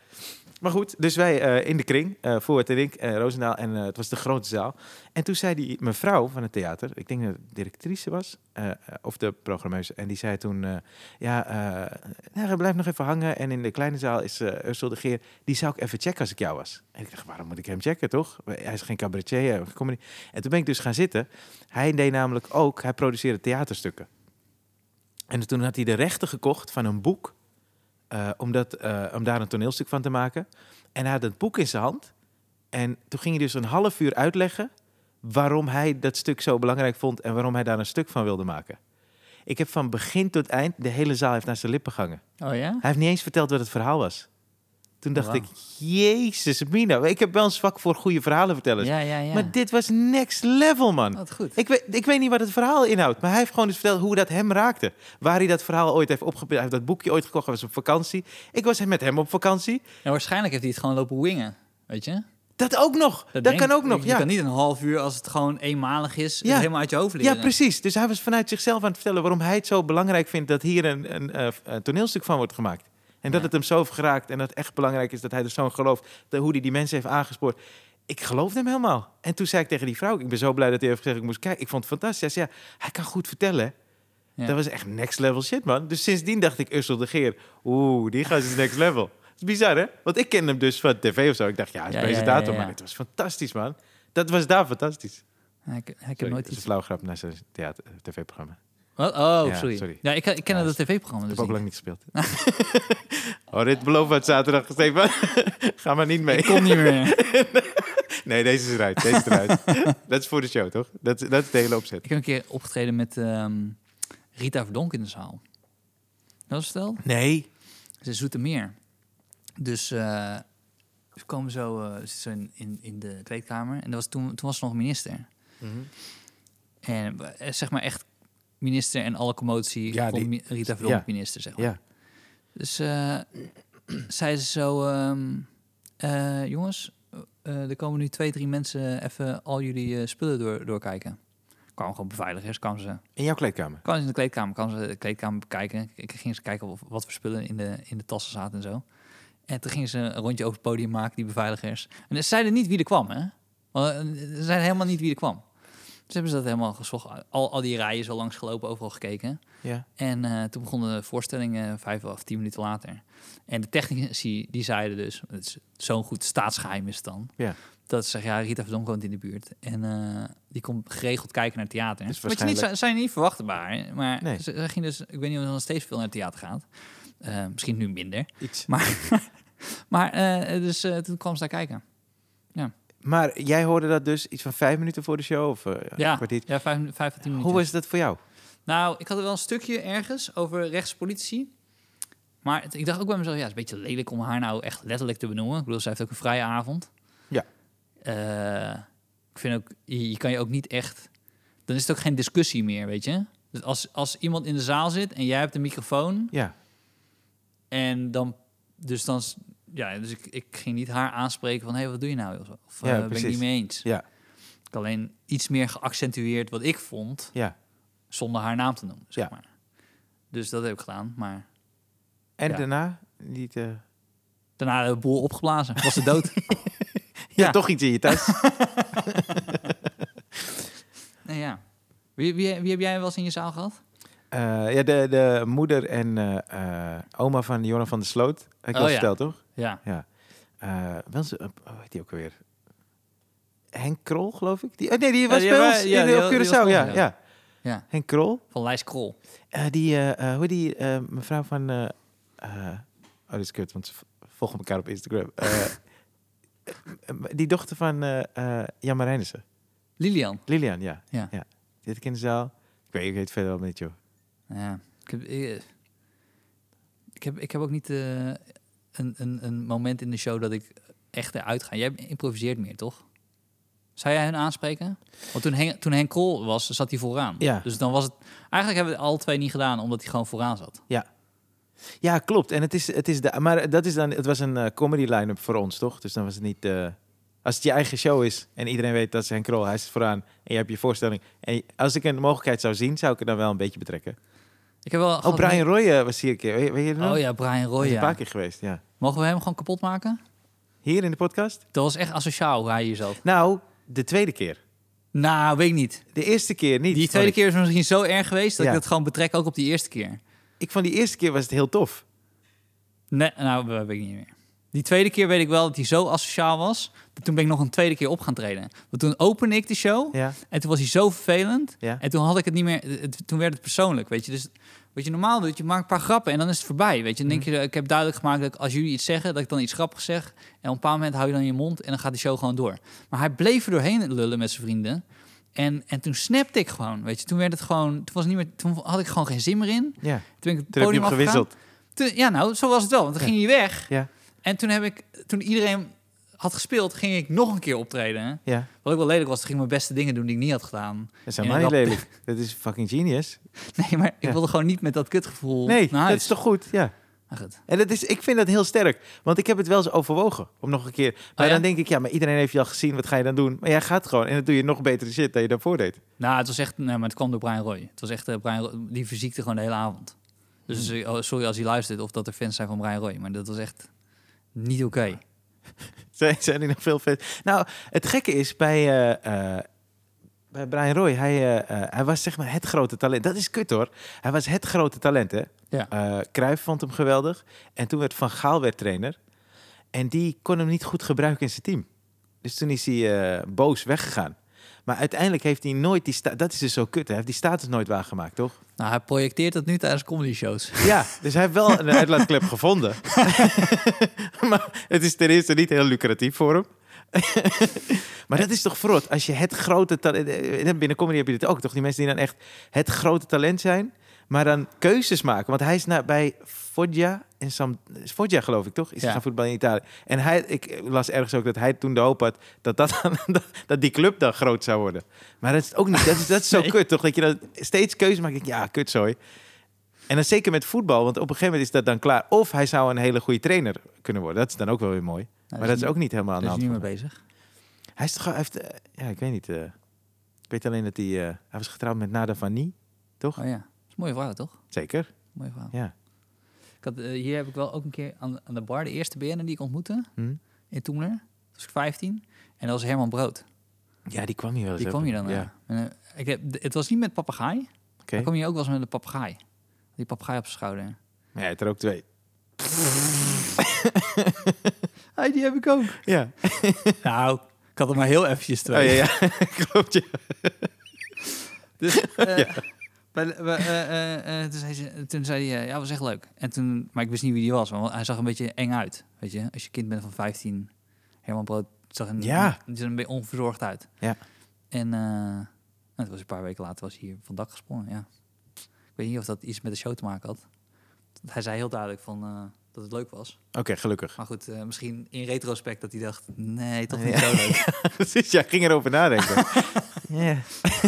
Speaker 1: Maar goed, dus wij eh, in de kring, eh Voorwoord en Rink, eh, Roosendaal, en eh, het was de grote zaal. En toen zei die mevrouw van het theater, ik denk dat het directrice was, eh, eh, of de programmeuse, en die zei toen, eh, ja, eh nou, blijf nog even hangen. En in de kleine zaal is eh Ursel de Geer, die zou ik even checken als ik jou was. En ik dacht, waarom moet ik hem checken, toch? Hij is geen cabaretier, hij komt niet. En toen ben ik dus gaan zitten. Hij deed namelijk ook, hij produceerde theaterstukken. En toen had hij de rechten gekocht van een boek eh, om, dat, eh, om daar een toneelstuk van te maken. En hij had het boek in zijn hand. En toen ging hij dus een half uur uitleggen waarom hij dat stuk zo belangrijk vond en waarom hij daar een stuk van wilde maken. Ik heb van begin tot eind, de hele zaal heeft naar zijn lippen gehangen.
Speaker 2: Oh ja?
Speaker 1: Hij heeft niet eens verteld wat het verhaal was. Toen dacht
Speaker 2: Wauw.
Speaker 1: ik, jezus mina, ik heb wel een zwak voor goede verhalenvertellers.
Speaker 2: Ja, ja, ja.
Speaker 1: Maar dit was next level, man.
Speaker 2: Wat goed.
Speaker 1: Ik weet, ik weet niet wat het verhaal inhoudt, maar hij heeft gewoon eens verteld hoe dat hem raakte. Waar hij dat verhaal ooit heeft opgepikt. Hij heeft dat boekje ooit gekocht, hij was op vakantie. Ik was met hem op vakantie.
Speaker 2: En waarschijnlijk heeft hij het gewoon lopen wingen, weet je?
Speaker 1: Dat ook nog. Dat,
Speaker 2: denk
Speaker 1: kan
Speaker 2: ik.
Speaker 1: ook nog,
Speaker 2: Je
Speaker 1: ja.
Speaker 2: kan niet een half uur, als het gewoon eenmalig is, het
Speaker 1: Ja.
Speaker 2: helemaal uit je hoofd leren.
Speaker 1: Ja, precies. Dus hij was vanuit zichzelf aan het vertellen waarom hij het zo belangrijk vindt dat hier een, een, eh, een toneelstuk van wordt gemaakt. En dat
Speaker 2: Ja.
Speaker 1: het hem zo heeft geraakt en dat het echt belangrijk is dat hij er zo'n gelooft. Dat, hoe hij die mensen heeft aangespoord. Ik geloofde hem helemaal. En toen zei ik tegen die vrouw, ik ben zo blij dat hij heeft gezegd, ik moest kijken. Ik vond het fantastisch. Hij zei, ja, hij kan goed vertellen.
Speaker 2: Ja.
Speaker 1: Dat was echt next level shit, man. Dus sindsdien dacht ik, Ursel de Geer, oeh, die gaat is next level. Dat is bizar, hè? Want ik ken hem dus van tv of zo. Ik dacht, ja, hij is
Speaker 2: Ja, ja,
Speaker 1: presentator,
Speaker 2: ja, ja.
Speaker 1: maar het was fantastisch, man. Dat was daar fantastisch.
Speaker 2: Ja, ik, ik heb
Speaker 1: Sorry,
Speaker 2: nooit
Speaker 1: dat is een
Speaker 2: iets...
Speaker 1: flauwe grap naar zijn theater- tv-programma.
Speaker 2: Wat? Oh,
Speaker 1: Ja,
Speaker 2: sorry.
Speaker 1: sorry.
Speaker 2: Ja, ik, ik ken
Speaker 1: Ja,
Speaker 2: dat tv-programma
Speaker 1: Ik
Speaker 2: dus
Speaker 1: heb ook
Speaker 2: niet.
Speaker 1: lang niet gespeeld. oh, dit beloof uit zaterdag, Stefan. Ga maar niet mee.
Speaker 2: Ik kon niet meer.
Speaker 1: Nee, deze is eruit. Deze is eruit. dat is voor de show, toch? Dat, is- dat is de hele opzet.
Speaker 2: ik heb een keer opgetreden met ehm, Rita Verdonk in de zaal. Dat is verteld?
Speaker 1: Nee.
Speaker 2: Ze zoeten meer. Dus eh, ze komen zo, eh, ze zitten zo in, in, in de kleedkamer. En dat was toen, toen was ze nog minister.
Speaker 1: Mhm.
Speaker 2: En eh, zeg maar echt minister en alle commotie
Speaker 1: Ja,
Speaker 2: van
Speaker 1: die-
Speaker 2: mi- Rita Verdonk
Speaker 1: ja.
Speaker 2: minister, zeg maar.
Speaker 1: Ja.
Speaker 2: Dus eh zei ze zo... ehm, eh, jongens, eh, er komen nu twee, drie mensen even al jullie eh, spullen door, doorkijken. Kwamen gewoon beveiligers, kwamen ze
Speaker 1: In jouw kleedkamer.
Speaker 2: kan ze in de kleedkamer, kan ze de kleedkamer bekijken. Ik ging ze kijken of, wat voor spullen in de, in de tassen zaten en zo. En toen gingen ze een rondje over het podium maken, die beveiligers. En ze zeiden niet wie er kwam, hè? Want, eh, Ze zeiden helemaal niet wie er kwam. Dus hebben ze dat helemaal gezocht. Al, al die rijen zo langs gelopen, overal gekeken.
Speaker 1: Ja.
Speaker 2: En eh, toen begon de voorstelling eh, vijf of tien minuten later. En de technici die zeiden dus, het is zo'n goed staatsgeheim is het dan.
Speaker 1: Ja.
Speaker 2: Dat ze zeggen, ja, Rita Verdonk woont in de buurt. En eh, die komt geregeld kijken naar theater.
Speaker 1: Dus
Speaker 2: Wat je niet, zou- zou je niet verwachten, maar, maar
Speaker 1: Nee.
Speaker 2: ze, ze ging dus, ik weet niet of ze nog steeds veel naar theater gaat. Eh, misschien nu minder.
Speaker 1: Iets.
Speaker 2: Maar eh, dus eh, toen kwam ze daar kijken.
Speaker 1: Maar jij hoorde dat dus iets van vijf minuten voor de show? Of, eh,
Speaker 2: Ja,
Speaker 1: een kwartier?
Speaker 2: ja vijf, vijf of tien minuten.
Speaker 1: Hoe was dat voor jou?
Speaker 2: Nou, ik had er wel een stukje ergens over rechtspolitie. Maar het- ik dacht ook bij mezelf, ja, het is een beetje lelijk om haar nou echt letterlijk te benoemen. Ik bedoel, zij heeft ook een vrije avond.
Speaker 1: Ja.
Speaker 2: Eh, ik vind ook, je, je kan je ook niet echt... Dan is het ook geen discussie meer, weet je. Dus als, als iemand in de zaal zit en jij hebt een microfoon...
Speaker 1: Ja.
Speaker 2: en dan... Dus dan... s- Ja, dus ik, ik ging niet haar aanspreken van... hé, hey, wat doe je nou? Of, of
Speaker 1: Ja,
Speaker 2: eh, ben ik
Speaker 1: precies.
Speaker 2: niet mee eens?
Speaker 1: Ja.
Speaker 2: Ik had alleen iets meer geaccentueerd wat ik vond
Speaker 1: Ja.
Speaker 2: zonder haar naam te noemen, zeg
Speaker 1: Ja.
Speaker 2: maar. Dus dat heb ik gedaan, maar
Speaker 1: En
Speaker 2: Ja.
Speaker 1: daarna? Niet, eh,
Speaker 2: daarna de boel opgeblazen. Was ze dood?
Speaker 1: ja.
Speaker 2: Ja.
Speaker 1: toch iets in je tas.
Speaker 2: nee, ja. Wie, wie, wie heb jij wel eens in je zaal gehad?
Speaker 1: Eh, Eh, ja, de, de moeder en eh, eh, oma van Joran van der Sloot. Heb ik
Speaker 2: Oh,
Speaker 1: al
Speaker 2: ja.
Speaker 1: verteld, toch?
Speaker 2: Ja.
Speaker 1: Ja. Eh, wel zo, eh, hoe heet die ook weer? Henk Krol, geloof ik? Die, oh, nee, die was
Speaker 2: die
Speaker 1: bij
Speaker 2: wa-
Speaker 1: ons
Speaker 2: ja,
Speaker 1: in,
Speaker 2: die
Speaker 1: op
Speaker 2: wa- die was
Speaker 1: Curaçao.
Speaker 2: bij
Speaker 1: ja,
Speaker 2: ons, ja.
Speaker 1: ja.
Speaker 2: ja.
Speaker 1: Henk Krol.
Speaker 2: Van Lijs Krol.
Speaker 1: Eh, die, eh, eh, hoe heet die eh, mevrouw van... eh, eh, oh, dit is kut, want ze v- volgen elkaar op Instagram. Eh, eh, die dochter van eh eh, Jan Marijnissen.
Speaker 2: Lilian.
Speaker 1: Lilian, ja.
Speaker 2: Ja.
Speaker 1: Dit kinderzaal. Ik weet, ik weet het verder al niet, joh.
Speaker 2: Ja. Ik heb, eh, ik heb, ik heb ook niet eh, een, een, een moment in de show dat ik echt eruit ga. Jij improviseert meer, toch? Zou jij hen aanspreken? Want toen, Hen- toen Henk Krol was, zat hij vooraan.
Speaker 1: Ja.
Speaker 2: Dus dan was het... Eigenlijk hebben we het alle twee niet gedaan, omdat hij gewoon vooraan zat.
Speaker 1: Ja, klopt. En het is, het is de, maar dat is dan, het was een eh, comedy line-up voor ons, toch? Dus dan was het niet. eh, als het je eigen show is en iedereen weet dat ze Henk Krol, hij zit vooraan en je hebt je voorstelling. En je- als ik een mogelijkheid zou zien, zou ik er dan wel een beetje betrekken.
Speaker 2: Ik heb wel...
Speaker 1: Oh,
Speaker 2: gehad-
Speaker 1: Brian Roy eh, was hier een keer. Weet, weet je dat nog?
Speaker 2: Oh ja, Brian
Speaker 1: Hij
Speaker 2: Roy,
Speaker 1: is een paar
Speaker 2: ja.
Speaker 1: keer geweest, ja.
Speaker 2: Mogen we hem gewoon kapot maken?
Speaker 1: Hier in de podcast?
Speaker 2: Dat was echt asociaal, hoe hij hier zat.
Speaker 1: Nou, de tweede keer.
Speaker 2: Nou, weet ik niet.
Speaker 1: De eerste keer niet.
Speaker 2: Die
Speaker 1: vond
Speaker 2: tweede
Speaker 1: ik.
Speaker 2: keer is misschien zo erg geweest... dat
Speaker 1: Ja.
Speaker 2: ik dat gewoon betrek ook op die eerste keer.
Speaker 1: Ik vond die eerste keer was het heel tof.
Speaker 2: Nee, nou, dat weet ik niet meer. Die tweede keer weet ik wel dat hij zo asociaal was... dat toen ben ik nog een tweede keer op gaan treden. Want toen opende ik de show
Speaker 1: Ja,
Speaker 2: en toen was hij zo vervelend...
Speaker 1: ja.
Speaker 2: en toen had ik het niet meer... het- toen werd het persoonlijk, weet je. Dus wat je normaal doet, je maakt een paar grappen en dan is het voorbij, weet je. Dan denk
Speaker 1: Mhm.
Speaker 2: je, ik heb duidelijk gemaakt dat ik als jullie iets zeggen... dat ik dan iets grappigs zeg en op een bepaald moment hou je dan je mond... en dan gaat de show gewoon door. Maar hij bleef er doorheen lullen met zijn vrienden... En, en toen snapte ik gewoon, weet je. Toen werd het gewoon... Toen, was het niet meer, toen had ik gewoon geen zin meer in. Toen
Speaker 1: ja.
Speaker 2: ben ik het
Speaker 1: Toen heb je hem
Speaker 2: podium afgegaan.
Speaker 1: gewisseld.
Speaker 2: Toen- ja, nou, zo was het wel. Want dan
Speaker 1: Ja.
Speaker 2: ging hij weg.
Speaker 1: Ja.
Speaker 2: En toen, heb ik, toen iedereen had gespeeld, ging ik nog een keer optreden. hè.
Speaker 1: Ja,
Speaker 2: Wat ook wel lelijk was, toen ging ik mijn beste dingen doen die ik niet had gedaan.
Speaker 1: dat zijn
Speaker 2: En
Speaker 1: maar niet
Speaker 2: dat-
Speaker 1: lelijk. Dat is fucking genius.
Speaker 2: Nee, maar ik
Speaker 1: Ja.
Speaker 2: wilde gewoon niet met dat kutgevoel
Speaker 1: Nee, dat
Speaker 2: naar huis.
Speaker 1: is toch goed? Ja.
Speaker 2: Maar goed.
Speaker 1: En dat is, ik vind dat heel sterk. Want ik heb het wel eens overwogen om nog een keer. Maar
Speaker 2: ja?
Speaker 1: dan denk ik, ja, maar iedereen heeft je al gezien. Wat ga je dan doen? Maar jij gaat gewoon. En dan doe je nog betere shit dan je daarvoor deed.
Speaker 2: Nou, het was echt... Nee, maar het kwam door Brian Roy. Het was echt... eh, Brian Roy- die verziekte gewoon de hele avond. Dus
Speaker 1: Hmm.
Speaker 2: eh, oh, sorry als hij luistert of dat er fans zijn van Brian Roy. Maar dat was echt niet oké.
Speaker 1: Zijn, zijn er nog veel vet. Nou, het gekke is bij, eh, eh, bij Brian Roy. Hij, eh, eh, hij was zeg maar het grote talent. Dat is kut hoor. Hij was het grote talent, hè?
Speaker 2: Ja.
Speaker 1: Eh, Cruijff vond hem geweldig. En toen werd Van Gaal werd trainer. En die kon hem niet goed gebruiken in zijn team. Dus toen is hij eh, boos weggegaan. Maar uiteindelijk heeft hij nooit die sta- Dat is dus zo kut. hè. Hij heeft die status nooit waargemaakt, toch?
Speaker 2: Nou, hij projecteert dat nu tijdens comedy shows.
Speaker 1: Ja, dus hij heeft wel een uitlaatklep gevonden. maar het is ten eerste niet heel lucratief voor hem. maar dat is toch verrot? Als je het grote talent... eh, Binnen comedy heb je dit ook, toch? Die mensen die dan echt het grote talent zijn... maar dan keuzes maken. Want hij is naar, bij Foggia in Sam... Foggia, geloof ik, toch? Is hij
Speaker 2: Ja.
Speaker 1: gaan voetballen in Italië. En hij, ik las ergens ook dat hij toen de hoop had... dat, dat, dat, dat die club dan groot zou worden. Maar dat is het ook niet... Dat is, dat is zo
Speaker 2: Nee.
Speaker 1: kut, toch? Dat je dan steeds keuzes maakt. Ik denk, Ja, kutzooi. En dan zeker met voetbal, want op een gegeven moment is dat dan klaar. Of hij zou een hele goede trainer kunnen worden. Dat is dan ook wel weer mooi.
Speaker 2: Nou,
Speaker 1: maar dat is ook niet helemaal aan
Speaker 2: Daar
Speaker 1: de
Speaker 2: is hij
Speaker 1: hand.
Speaker 2: niet
Speaker 1: van
Speaker 2: mee
Speaker 1: hem.
Speaker 2: bezig.
Speaker 1: Hij is toch... Hij heeft, eh, ja, ik weet niet. eh, ik weet alleen dat hij... eh, hij was getrouwd met Nada van Nie. Toch?
Speaker 2: Oh ja. Dat is een mooie vrouw, toch?
Speaker 1: Zeker.
Speaker 2: Mooie verhaal.
Speaker 1: Ja.
Speaker 2: Ik had, eh, hier heb ik wel ook een keer aan, aan de bar de eerste BN'er die ik ontmoette
Speaker 1: Hm?
Speaker 2: in Toemler. Toen was ik 15. En dat was Herman Brood.
Speaker 1: Ja, die kwam hier wel eens
Speaker 2: Die kwam
Speaker 1: even.
Speaker 2: hier dan.
Speaker 1: Ja.
Speaker 2: eh, en, eh, ik heb, d- het was niet met papegaai. maar
Speaker 1: Oké.
Speaker 2: kwam hier ook wel eens met een papegaai. Die papegaai op zijn schouder.
Speaker 1: Ja, hij had er ook twee.
Speaker 2: Hey, die heb ik ook.
Speaker 1: Ja.
Speaker 2: nou, ik had er maar heel eventjes
Speaker 1: Oh,
Speaker 2: twee.
Speaker 1: ja, ja. Klopt, ja.
Speaker 2: Dus, eh, bij de- bij- eh, eh, eh, toen zei, ze, toen zei hij, eh, ja, was echt leuk. En toen, maar ik wist niet wie die was, want hij zag een beetje eng uit. Weet je, als je kind bent van 15, Herman Brood zag een,
Speaker 1: Ja.
Speaker 2: die zag een beetje onverzorgd uit.
Speaker 1: Ja.
Speaker 2: En eh, nou, het was een paar weken later was hij hier van dak gesprongen, ja. Ik weet niet of dat iets met de show te maken had. Hij zei heel duidelijk van, eh, dat het leuk was.
Speaker 1: Oké, gelukkig.
Speaker 2: Maar goed, eh, misschien in retrospect dat hij dacht, nee, toch
Speaker 1: Ja.
Speaker 2: niet zo leuk.
Speaker 1: Precies, jij ging erover nadenken. Ja.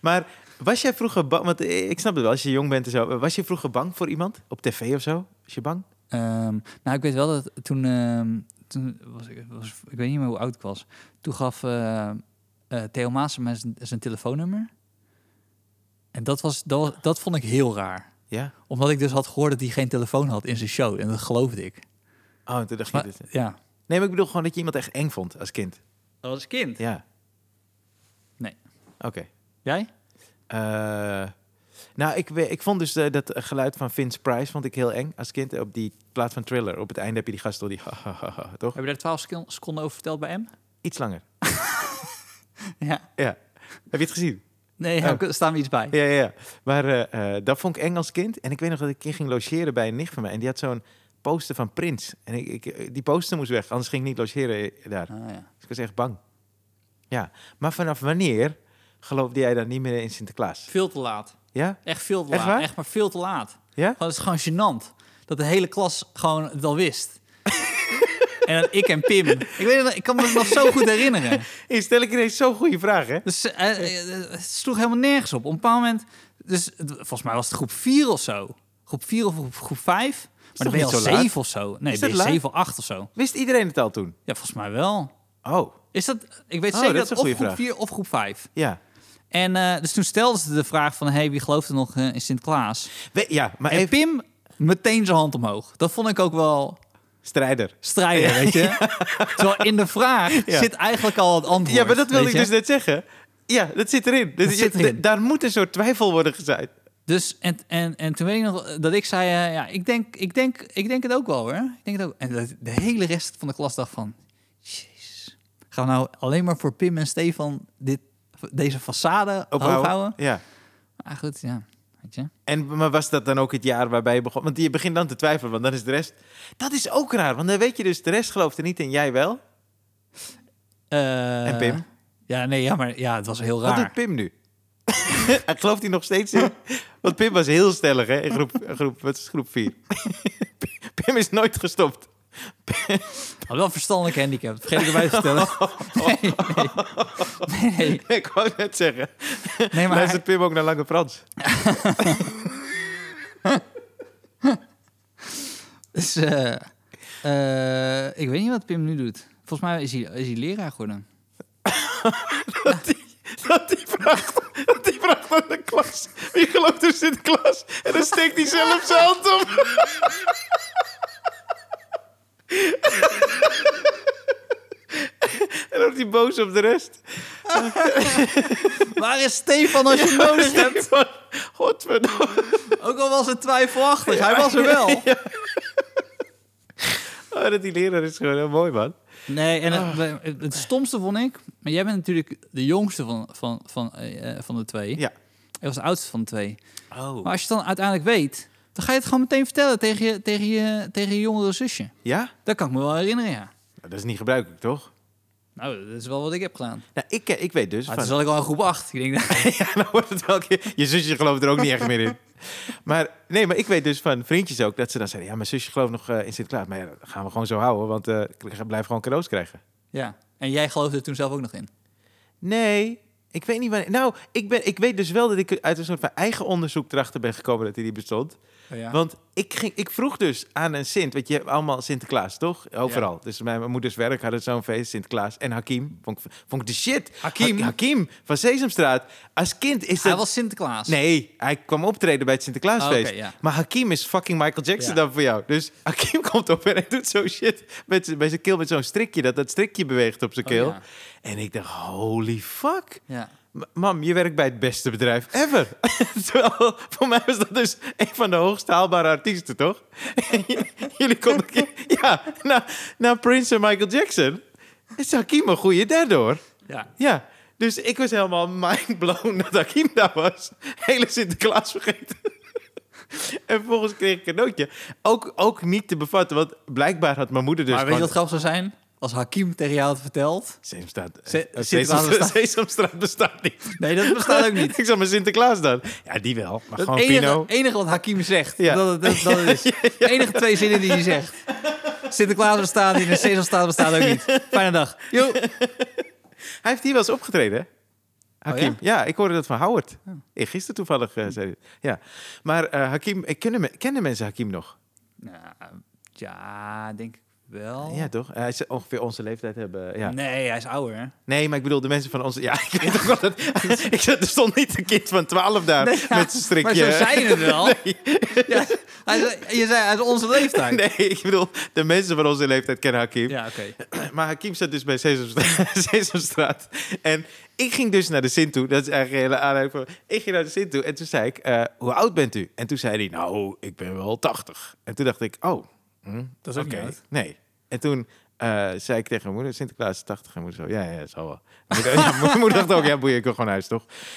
Speaker 1: maar was jij vroeger bang, want eh, ik snap het wel, als je jong bent en zo, eh, was je vroeger bang voor iemand op tv of zo? Was je bang?
Speaker 2: Ehm, nou, ik weet wel dat toen, ehm, toen was ik, was, ik weet niet meer hoe oud ik was. Toen gaf eh, eh, Theo Maassen mij zijn, zijn telefoonnummer. En dat, was, dat, was- dat vond ik heel raar.
Speaker 1: Ja.
Speaker 2: Omdat ik dus had gehoord dat hij geen telefoon had in zijn show. En dat geloofde ik.
Speaker 1: Oh, en toen dacht je
Speaker 2: Maar-
Speaker 1: dit. Nee,
Speaker 2: ja.
Speaker 1: maar ik bedoel gewoon dat je iemand echt eng vond als kind.
Speaker 2: Als kind.
Speaker 1: Ja.
Speaker 2: Nee.
Speaker 1: Oké.
Speaker 2: Jij?
Speaker 1: Eh, nou, ik, we- ik vond dus eh, dat geluid van Vince Price vond ik heel eng als kind. eh, Op die plaat van Thriller. Op het einde heb je die gast al die... toch?
Speaker 2: Heb je daar 12 seco- seconden over verteld bij hem?
Speaker 1: Iets langer.
Speaker 2: Ja.
Speaker 1: Ja. Heb je het gezien?
Speaker 2: Nee, daar staan we iets bij.
Speaker 1: Ja, ja, ja. Maar eh, eh, dat vond ik eng als kind. En ik weet nog dat ik een keer ging logeren bij een nicht van mij. En die had zo'n poster van Prins. En ik, ik, eh, die poster moest weg, anders ging ik niet logeren eh, daar.
Speaker 2: Ah, ja.
Speaker 1: Dus ik was echt bang. Ja. Maar vanaf wanneer geloofde jij dan niet meer in Sinterklaas?
Speaker 2: Veel te laat.
Speaker 1: Ja?
Speaker 2: Echt veel te
Speaker 1: Echt
Speaker 2: laat.
Speaker 1: waar?
Speaker 2: Echt maar veel te laat.
Speaker 1: Ja?
Speaker 2: Gewoon, het Oh, is gewoon gênant dat de hele klas gewoon het al wist. en dat ik en Pim. Ik, weet het, ik kan me het nog zo goed herinneren.
Speaker 1: Hey, stel ik ineens zo'n goede vraag, hè?
Speaker 2: Dus eh, eh, eh, het sloeg helemaal nergens op. Op een bepaald moment, dus het- volgens mij was het groep 4 of zo. Groep 4 of groep- groep 5. Maar
Speaker 1: toch
Speaker 2: dan ben je
Speaker 1: niet
Speaker 2: al
Speaker 1: zo laat?
Speaker 2: 7 of zo. Nee,
Speaker 1: Is
Speaker 2: ben
Speaker 1: dat
Speaker 2: je
Speaker 1: laat?
Speaker 2: 7 of 8 of zo.
Speaker 1: Wist iedereen het al toen?
Speaker 2: Ja, volgens mij wel.
Speaker 1: Oh,
Speaker 2: Is dat, ik weet
Speaker 1: Oh,
Speaker 2: zeker
Speaker 1: dat is
Speaker 2: dat,
Speaker 1: een
Speaker 2: of
Speaker 1: goede
Speaker 2: groep
Speaker 1: vraag.
Speaker 2: 4 of groep 5.
Speaker 1: ja.
Speaker 2: En eh, dus toen stelden ze de vraag van, hey, wie gelooft er nog eh, in Sinterklaas?
Speaker 1: We- ja, maar
Speaker 2: En
Speaker 1: even
Speaker 2: Pim meteen zijn hand omhoog. Dat vond ik ook wel
Speaker 1: strijder.
Speaker 2: strijden, weet je. Terwijl in de vraag
Speaker 1: Ja.
Speaker 2: zit eigenlijk al het antwoord.
Speaker 1: Ja, maar dat wilde
Speaker 2: weet
Speaker 1: ik
Speaker 2: je.
Speaker 1: dus net zeggen. Ja, dat zit erin. Dus
Speaker 2: Dat
Speaker 1: je-
Speaker 2: zit erin.
Speaker 1: d- Daar moet een soort twijfel worden gezaaid.
Speaker 2: Dus en, en, en toen weet ik nog dat ik zei, eh, ja, ik denk, ik, denk, ik denk het ook wel hoor. Ik denk het ook. En dat de hele rest van de klas dacht van, jezus, gaan we nou alleen maar voor Pim en Stefan dit, deze façade
Speaker 1: Ophouden.
Speaker 2: ophouden?
Speaker 1: Ja.
Speaker 2: Ah goed, ja, weet je.
Speaker 1: En maar was dat dan ook het jaar waarbij je begon? Want je begint dan te twijfelen, want dan is de rest. Dat is ook raar, want dan weet je dus, de rest gelooft er niet en jij wel.
Speaker 2: Eh,
Speaker 1: En Pim?
Speaker 2: Ja, nee, ja, maar ja, het was heel
Speaker 1: Wat doet
Speaker 2: raar.
Speaker 1: Pim nu? Hij gelooft hij nog steeds in? Want Pim was heel stellig, hè? In groep, groep, wat is groep 4? Pim is nooit gestopt.
Speaker 2: Had wel een verstandelijk handicap, dat vergeet ik erbij te vertellen. Nee, nee. nee, nee.
Speaker 1: Ik wou net zeggen.
Speaker 2: nee maar
Speaker 1: Luistert Pim ook naar Lange Frans?
Speaker 2: Dus, eh, eh, ik weet niet wat Pim nu doet. Volgens mij is hij, is hij leraar geworden.
Speaker 1: Dat die vraagt, dat die vraagt aan de klas. Wie gelooft er Sinterklaas? En dan steekt hij zelf zijn hand op. en dan wordt hij boos op de rest.
Speaker 2: Waar is Stefan als je hem nodig hebt?
Speaker 1: Van, Godverdomme.
Speaker 2: Ook al was het twijfelachtig, hij was er wel.
Speaker 1: Oh, dat die leraar is gewoon heel mooi, man.
Speaker 2: Nee, en het, het- het stomste vond ik... Maar jij bent natuurlijk de jongste van, van, van, eh, eh, van de twee.
Speaker 1: Ja.
Speaker 2: Hij was de oudste van de twee.
Speaker 1: Oh.
Speaker 2: Maar als je het dan uiteindelijk weet... dan ga je het gewoon meteen vertellen tegen je, tegen je, tegen je jongere zusje.
Speaker 1: Ja?
Speaker 2: Dat kan ik me wel herinneren, ja.
Speaker 1: Nou, dat is niet gebruikelijk, toch?
Speaker 2: Nou, dat is wel wat ik heb gedaan.
Speaker 1: Nou, ik, eh, ik weet dus...
Speaker 2: Maar
Speaker 1: van-
Speaker 2: toen zat ik al in groep 8. Ik denk,
Speaker 1: ja, dan wordt het wel een keer- Je zusje gelooft er ook niet echt meer in. Maar nee, maar ik weet dus van vriendjes ook dat ze dan zeiden: ja, mijn zusje gelooft nog eh, in Sinterklaas. Maar ja, dat gaan we gewoon zo houden, want eh, ik krijg- blijf gewoon cadeaus krijgen.
Speaker 2: ja. En jij geloofde er toen zelf ook nog in.
Speaker 1: Nee, ik weet niet wanneer. Nou, ik, ben, ik weet dus wel dat ik uit een soort van eigen onderzoek erachter ben gekomen dat hij die bestond.
Speaker 2: Oh ja.
Speaker 1: Want ik, ging, ik vroeg dus aan een Sint, want je hebt allemaal Sinterklaas, toch? Overal. Dus mijn, mijn moeders werk hadden zo'n feest, Sinterklaas en Hakim. Vond ik, vond ik de shit.
Speaker 2: Hakim?
Speaker 1: Ha- Hakim van Sesamstraat. Als kind is
Speaker 2: Hij
Speaker 1: dat...
Speaker 2: was Sinterklaas.
Speaker 1: Nee, hij kwam optreden bij het Sinterklaasfeest.
Speaker 2: Oh, oké, ja.
Speaker 1: Maar Hakim is fucking Michael Jackson
Speaker 2: Ja.
Speaker 1: dan voor jou. Dus Hakim komt op en hij doet zo shit met z'n- bij zijn keel met zo'n strikje. Dat dat strikje beweegt op zijn
Speaker 2: Oh,
Speaker 1: keel.
Speaker 2: ja.
Speaker 1: En ik dacht, holy fuck.
Speaker 2: Ja.
Speaker 1: M- Mam, je werkt bij het beste bedrijf ever. Terwijl, voor mij was dat dus een van de hoogst haalbare artiesten, toch? Jullie konden... Ja, na, na Prince en Michael Jackson is Hakim een goede derde, hoor.
Speaker 2: ja.
Speaker 1: Ja, dus ik was helemaal mindblown dat Hakim daar was. Hele Sinterklaas vergeten. En vervolgens kreeg ik een nootje. Ook, ook niet te bevatten, want blijkbaar had mijn moeder dus...
Speaker 2: maar weet je wat
Speaker 1: gewoon-
Speaker 2: grappig zou zijn? Als Hakim tegen jou had verteld.
Speaker 1: Sesamstraat, eh,
Speaker 2: Se-
Speaker 1: eh,
Speaker 2: Sinterklaas
Speaker 1: Sesamstraat,
Speaker 2: bestaat-
Speaker 1: Sesamstraat bestaat niet.
Speaker 2: Nee, dat bestaat ook niet.
Speaker 1: ik zag mijn Sinterklaas dan. Ja, die wel, maar
Speaker 2: Het
Speaker 1: gewoon
Speaker 2: enige,
Speaker 1: Pino.
Speaker 2: enige wat Hakim zegt,
Speaker 1: Ja.
Speaker 2: dat, het- dat, dat het is. De enige twee zinnen die hij zegt. Sinterklaas bestaat niet en Sesamstraat bestaat ook niet. Fijne dag. Jo.
Speaker 1: Hij heeft hier wel eens opgetreden, hè? Hakim.
Speaker 2: Oh,
Speaker 1: ja? ik hoorde dat van Howard. Eh, Gisteren toevallig eh, zei hij. Ja. Maar eh Hakim, eh, kennen, me- kennen mensen Hakim nog?
Speaker 2: Nou, ja, denk ik wel.
Speaker 1: Ja, toch? Hij is ongeveer onze leeftijd hebben. Ja.
Speaker 2: Nee, hij is ouder. hè?
Speaker 1: Nee, maar ik bedoel de mensen van onze... Ja, ik weet ook wel dat... ik zat- er stond niet een kind van 12 daar
Speaker 2: Nee, ja,
Speaker 1: met zijn strikje.
Speaker 2: Maar zo zei je het wel.
Speaker 1: Nee.
Speaker 2: Ja, hij zei, je zei, hij is onze leeftijd.
Speaker 1: Nee, ik bedoel, de mensen van onze leeftijd kennen Hakim.
Speaker 2: Ja, oké.
Speaker 1: Maar Hakim zat dus bij Sesamstraat. Sesamstraat. En ik ging dus naar de Sint toe. Dat is eigenlijk een hele aanleiding voor... Ik ging naar de Sint toe en toen zei ik, eh, hoe oud bent u? En toen zei hij, nou, ik ben wel 80. En toen dacht ik, oh, hm,
Speaker 2: Dat is ook
Speaker 1: oké.
Speaker 2: niet oud.
Speaker 1: Nee. En toen eh, zei ik tegen mijn moeder, Sinterklaas is 80. En moeder zo, ja, ja, dat zal wel. En moeder- ja, mijn moeder dacht ook, ja, boeien, ik wil gewoon naar huis, toch?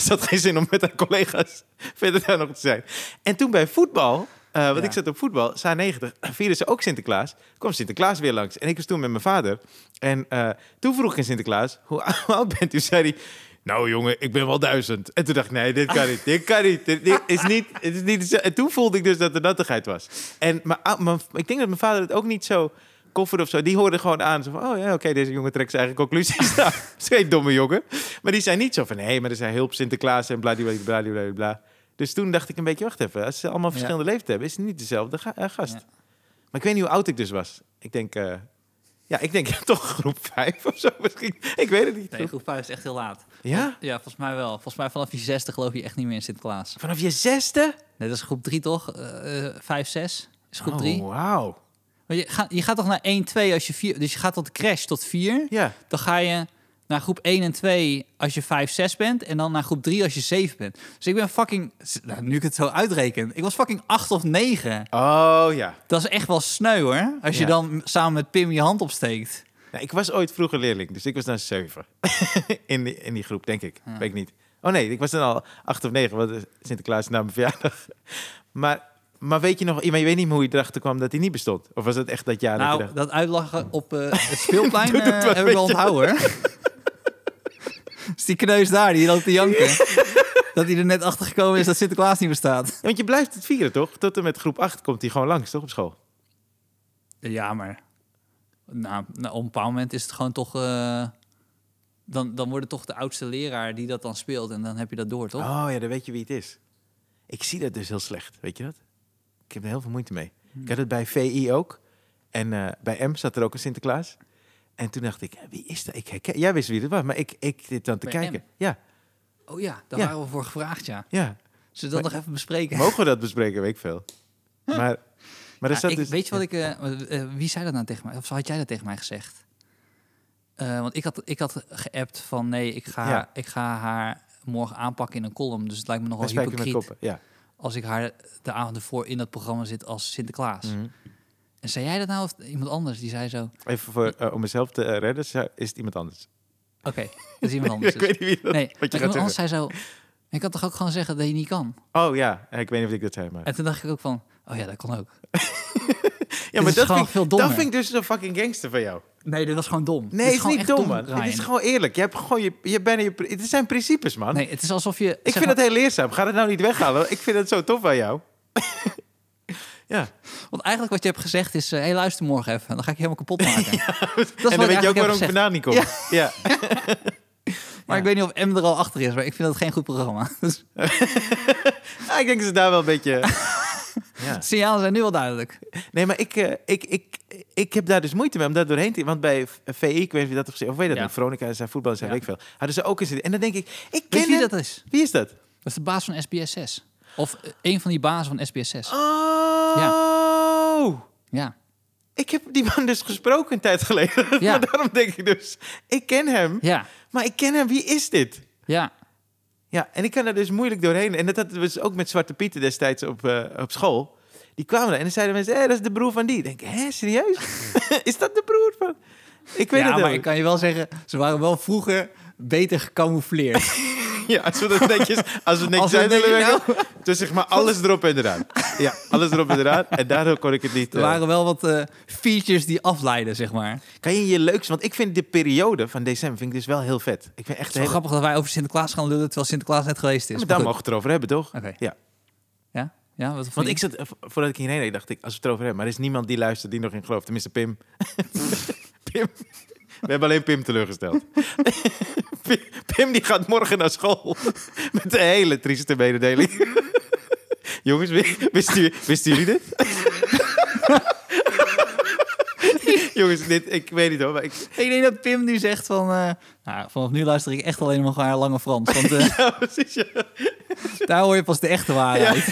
Speaker 1: Ze had geen zin om met haar collega's verder daar nog te zijn. En toen bij voetbal, eh, want
Speaker 2: Ja.
Speaker 1: ik zat op voetbal, Sa 90, vierden ze ook Sinterklaas. Kom Sinterklaas weer langs. En ik was toen met mijn vader. En eh, toen vroeg ik aan Sinterklaas, hoe oud bent u? Zei hij, nou jongen, ik ben wel duizend. En toen dacht ik, nee, dit kan niet, dit kan niet. Dit, dit is niet, het is niet zo- en toen voelde ik dus dat er nattigheid was. En mijn, ou- mijn- ik denk dat mijn vader het ook niet zo koffer of zo, die hoorde gewoon aan. Zo van, oh ja, oké, deze jongen trekt zijn eigen conclusies. nou, is geen domme jongen. Maar die zijn niet zo van, hé, maar er zijn hulp Sinterklaas en bladibladibla. bladibladibla. Dus toen dacht ik een beetje, wacht even. Als ze allemaal
Speaker 2: Ja.
Speaker 1: verschillende leeftijd hebben, is het niet dezelfde ga- eh, gast.
Speaker 2: Ja.
Speaker 1: Maar ik weet niet hoe oud ik dus was. Ik denk, eh, ja, ik denk toch groep 5 of zo misschien. Ik weet het niet.
Speaker 2: Nee, groep 5 is echt heel laat.
Speaker 1: Ja?
Speaker 2: Ja, volgens mij wel. Volgens mij vanaf je zesde geloof je echt niet meer in Sinterklaas.
Speaker 1: Vanaf je zesde?
Speaker 2: Net als groep 3 toch? Eh, eh, Vijf, zes is groep
Speaker 1: Oh,
Speaker 2: 3.
Speaker 1: wauw.
Speaker 2: je, gaat, je gaat toch naar 1, 2 als je 4... Dus je gaat tot de crash tot 4.
Speaker 1: Ja.
Speaker 2: Dan ga je naar groep 1 en 2 als je 5, 6 bent. En dan naar groep 3 als je 7 bent. Dus ik ben fucking... Nou, nu ik het zo uitreken. Ik was fucking 8 of 9.
Speaker 1: Oh ja.
Speaker 2: Dat is echt wel sneu hoor. Als je
Speaker 1: Ja.
Speaker 2: dan samen met Pim je hand opsteekt.
Speaker 1: Nou, ik was ooit vroeger leerling, dus ik was dan zeven. in, die, in die groep, denk ik.
Speaker 2: Ja.
Speaker 1: Weet ik niet. Oh nee, ik was dan al acht of negen, want eh, Sinterklaas is na mijn verjaardag. maar, maar weet je nog, maar je weet niet meer hoe je erachter kwam dat hij niet bestond? Of was het echt dat jaar dat je
Speaker 2: nou,
Speaker 1: dacht...
Speaker 2: dat uitlachen op eh, het speelplein
Speaker 1: Doe het
Speaker 2: eh,
Speaker 1: maar,
Speaker 2: heb ik
Speaker 1: weet
Speaker 2: wel
Speaker 1: je.
Speaker 2: onthouden hoor. Dus die kneus daar, die loopt te janken. dat hij er net achter gekomen is dat Sinterklaas niet bestaat.
Speaker 1: Ja, want je blijft het vieren, toch? Tot en met groep acht komt hij gewoon langs, toch, op school?
Speaker 2: Ja, maar nou, nou, op een bepaald moment is het gewoon toch... eh, dan, dan wordt het toch de oudste leraar die dat dan speelt. En dan heb je dat door, toch?
Speaker 1: Oh ja, dan weet je wie het is. Ik zie dat dus heel slecht, weet je dat? Ik heb er heel veel moeite mee. Ik had het bij VI ook. En eh, bij M zat er ook een Sinterklaas. En toen dacht ik, eh, wie is dat? Ik herken... Jij wist wie dat was, maar ik, ik dit dan te
Speaker 2: Bij
Speaker 1: kijken.
Speaker 2: M?
Speaker 1: Ja,
Speaker 2: Oh ja, daar
Speaker 1: Ja.
Speaker 2: waren we voor gevraagd, ja.
Speaker 1: ja.
Speaker 2: Zullen we dat nog even bespreken?
Speaker 1: Mogen we dat bespreken? Weet ik veel. Maar, maar er
Speaker 2: Ja,
Speaker 1: zat
Speaker 2: ik-
Speaker 1: dus...
Speaker 2: Weet je wat ik... eh, eh, wie zei dat nou tegen mij? Of had jij dat tegen mij gezegd? Eh, want ik had, ik had geappt van... Nee, ik ga,
Speaker 1: Ja.
Speaker 2: ik ga haar morgen aanpakken in een column. Dus het lijkt me
Speaker 1: Wij
Speaker 2: nogal
Speaker 1: spijken met
Speaker 2: hypocriet...
Speaker 1: koppen, ja.
Speaker 2: als ik haar de avond ervoor in dat programma zit als Sinterklaas.
Speaker 1: Mm.
Speaker 2: En zei jij dat nou of iemand anders? Die zei zo... Oké,
Speaker 1: Even voor, eh, om mezelf te eh, redden, zou- is het iemand anders.
Speaker 2: dat is iemand anders.
Speaker 1: ik
Speaker 2: dus.
Speaker 1: weet niet wie dat,
Speaker 2: Nee, maar
Speaker 1: wat je
Speaker 2: iemand
Speaker 1: gaat
Speaker 2: anders
Speaker 1: zeggen.
Speaker 2: zei zo... Ik kan toch ook gewoon zeggen dat je niet kan?
Speaker 1: Oh ja, eh, ik weet niet of ik dat zei, maar...
Speaker 2: En toen dacht ik ook van... Oh ja, dat kan ook.
Speaker 1: ja,
Speaker 2: is
Speaker 1: maar dat
Speaker 2: gewoon
Speaker 1: vind, ik-
Speaker 2: veel
Speaker 1: dat
Speaker 2: dommer.
Speaker 1: vind ik dus een fucking gangster van jou.
Speaker 2: Nee, dit was gewoon dom. Dit
Speaker 1: Nee, het is,
Speaker 2: gewoon
Speaker 1: niet
Speaker 2: echt
Speaker 1: dom, man.
Speaker 2: Ryan.
Speaker 1: Het is gewoon eerlijk. Je hebt gewoon je, je bent je, pri- het zijn principes, man.
Speaker 2: Nee, het is alsof je...
Speaker 1: ik vind het heel leerzaam. Ga dat nou niet weghalen. want Ik vind het zo tof aan jou. ja.
Speaker 2: Want eigenlijk wat je hebt gezegd is... eh hey, luister morgen even. Dan ga ik je helemaal kapot maken.
Speaker 1: en dan weet je ook waarom ik
Speaker 2: gezegd.
Speaker 1: vandaan niet kom. Ja.
Speaker 2: Maar ik weet niet of M er al achter is. Maar ik vind dat geen goed programma. Dus
Speaker 1: Ah, ik denk dat ze daar wel een beetje... ja.
Speaker 2: de signalen zijn nu wel duidelijk.
Speaker 1: Nee, maar ik, eh, ik, ik, ik heb daar dus moeite mee om daar doorheen te... Want bij V- VI, ik weet niet of je dat hebt gezien... Of weet je dat
Speaker 2: Ja.
Speaker 1: niet? Veronica en zijn voetbal en zijn
Speaker 2: Ja.
Speaker 1: weet ik veel. Hadden ze ook eens... En dan denk ik, ik ken
Speaker 2: Weet je wie
Speaker 1: hem.
Speaker 2: dat is?
Speaker 1: Wie is dat?
Speaker 2: Dat is de baas van SBS6. Of eh, een van die bazen van SBS6.
Speaker 1: Oh!
Speaker 2: Ja.
Speaker 1: Ik heb die man dus gesproken een tijd geleden.
Speaker 2: Ja.
Speaker 1: Maar daarom denk ik dus, ik ken hem.
Speaker 2: Ja.
Speaker 1: Maar ik ken hem, wie is dit?
Speaker 2: Ja.
Speaker 1: Ja, en ik kan er dus moeilijk doorheen. En dat hadden we dus ook met Zwarte Pieten destijds op, eh, op school. Die kwamen er en dan zeiden mensen, hé, dat is de broer van die. Ik denk, hé, serieus? is dat de broer van... Ik weet
Speaker 2: ja,
Speaker 1: het
Speaker 2: maar
Speaker 1: ook.
Speaker 2: ik kan je wel zeggen... Ze waren wel vroeger beter gecamoufleerd.
Speaker 1: Ja, als we dat netjes, als we netjes
Speaker 2: Als we
Speaker 1: uit
Speaker 2: het
Speaker 1: willen
Speaker 2: netjes- Nou.
Speaker 1: werken. Dus zeg maar alles erop en eraan. Ja, alles erop en eraan. En daardoor kon ik het niet...
Speaker 2: er
Speaker 1: eh,
Speaker 2: waren wel wat eh, features die afleiden, zeg maar.
Speaker 1: Kan je je leuks... Want ik vind de periode van december vind ik dus wel heel vet. Ik vind echt
Speaker 2: Het is wel
Speaker 1: heel...
Speaker 2: grappig dat wij over Sinterklaas gaan lullen... terwijl Sinterklaas net geweest
Speaker 1: Maar
Speaker 2: is. Maar
Speaker 1: Oh, daar
Speaker 2: goed.
Speaker 1: mogen we het erover hebben, toch?
Speaker 2: Oké.
Speaker 1: Ja.
Speaker 2: Ja? Ja? Wat
Speaker 1: Want ik zat, eh, vo- voordat ik hierheen reed, dacht ik, als we het erover hebben. Maar er is niemand die luistert die nog in gelooft. Tenminste, Pim. Pim. We hebben alleen Pim teleurgesteld. Pim, Pim die gaat morgen naar school. Met een hele trieste mededeling. Jongens, wi- wisten, jullie- wisten jullie dit? Jongens, dit, ik weet niet hoor, maar ik...
Speaker 2: Ik denk dat Pim nu zegt van... eh, nou, vanaf nu luister ik echt alleen nog naar Lange Frans. Want eh,
Speaker 1: Ja, precies, ja.
Speaker 2: daar hoor je pas de echte waarheid.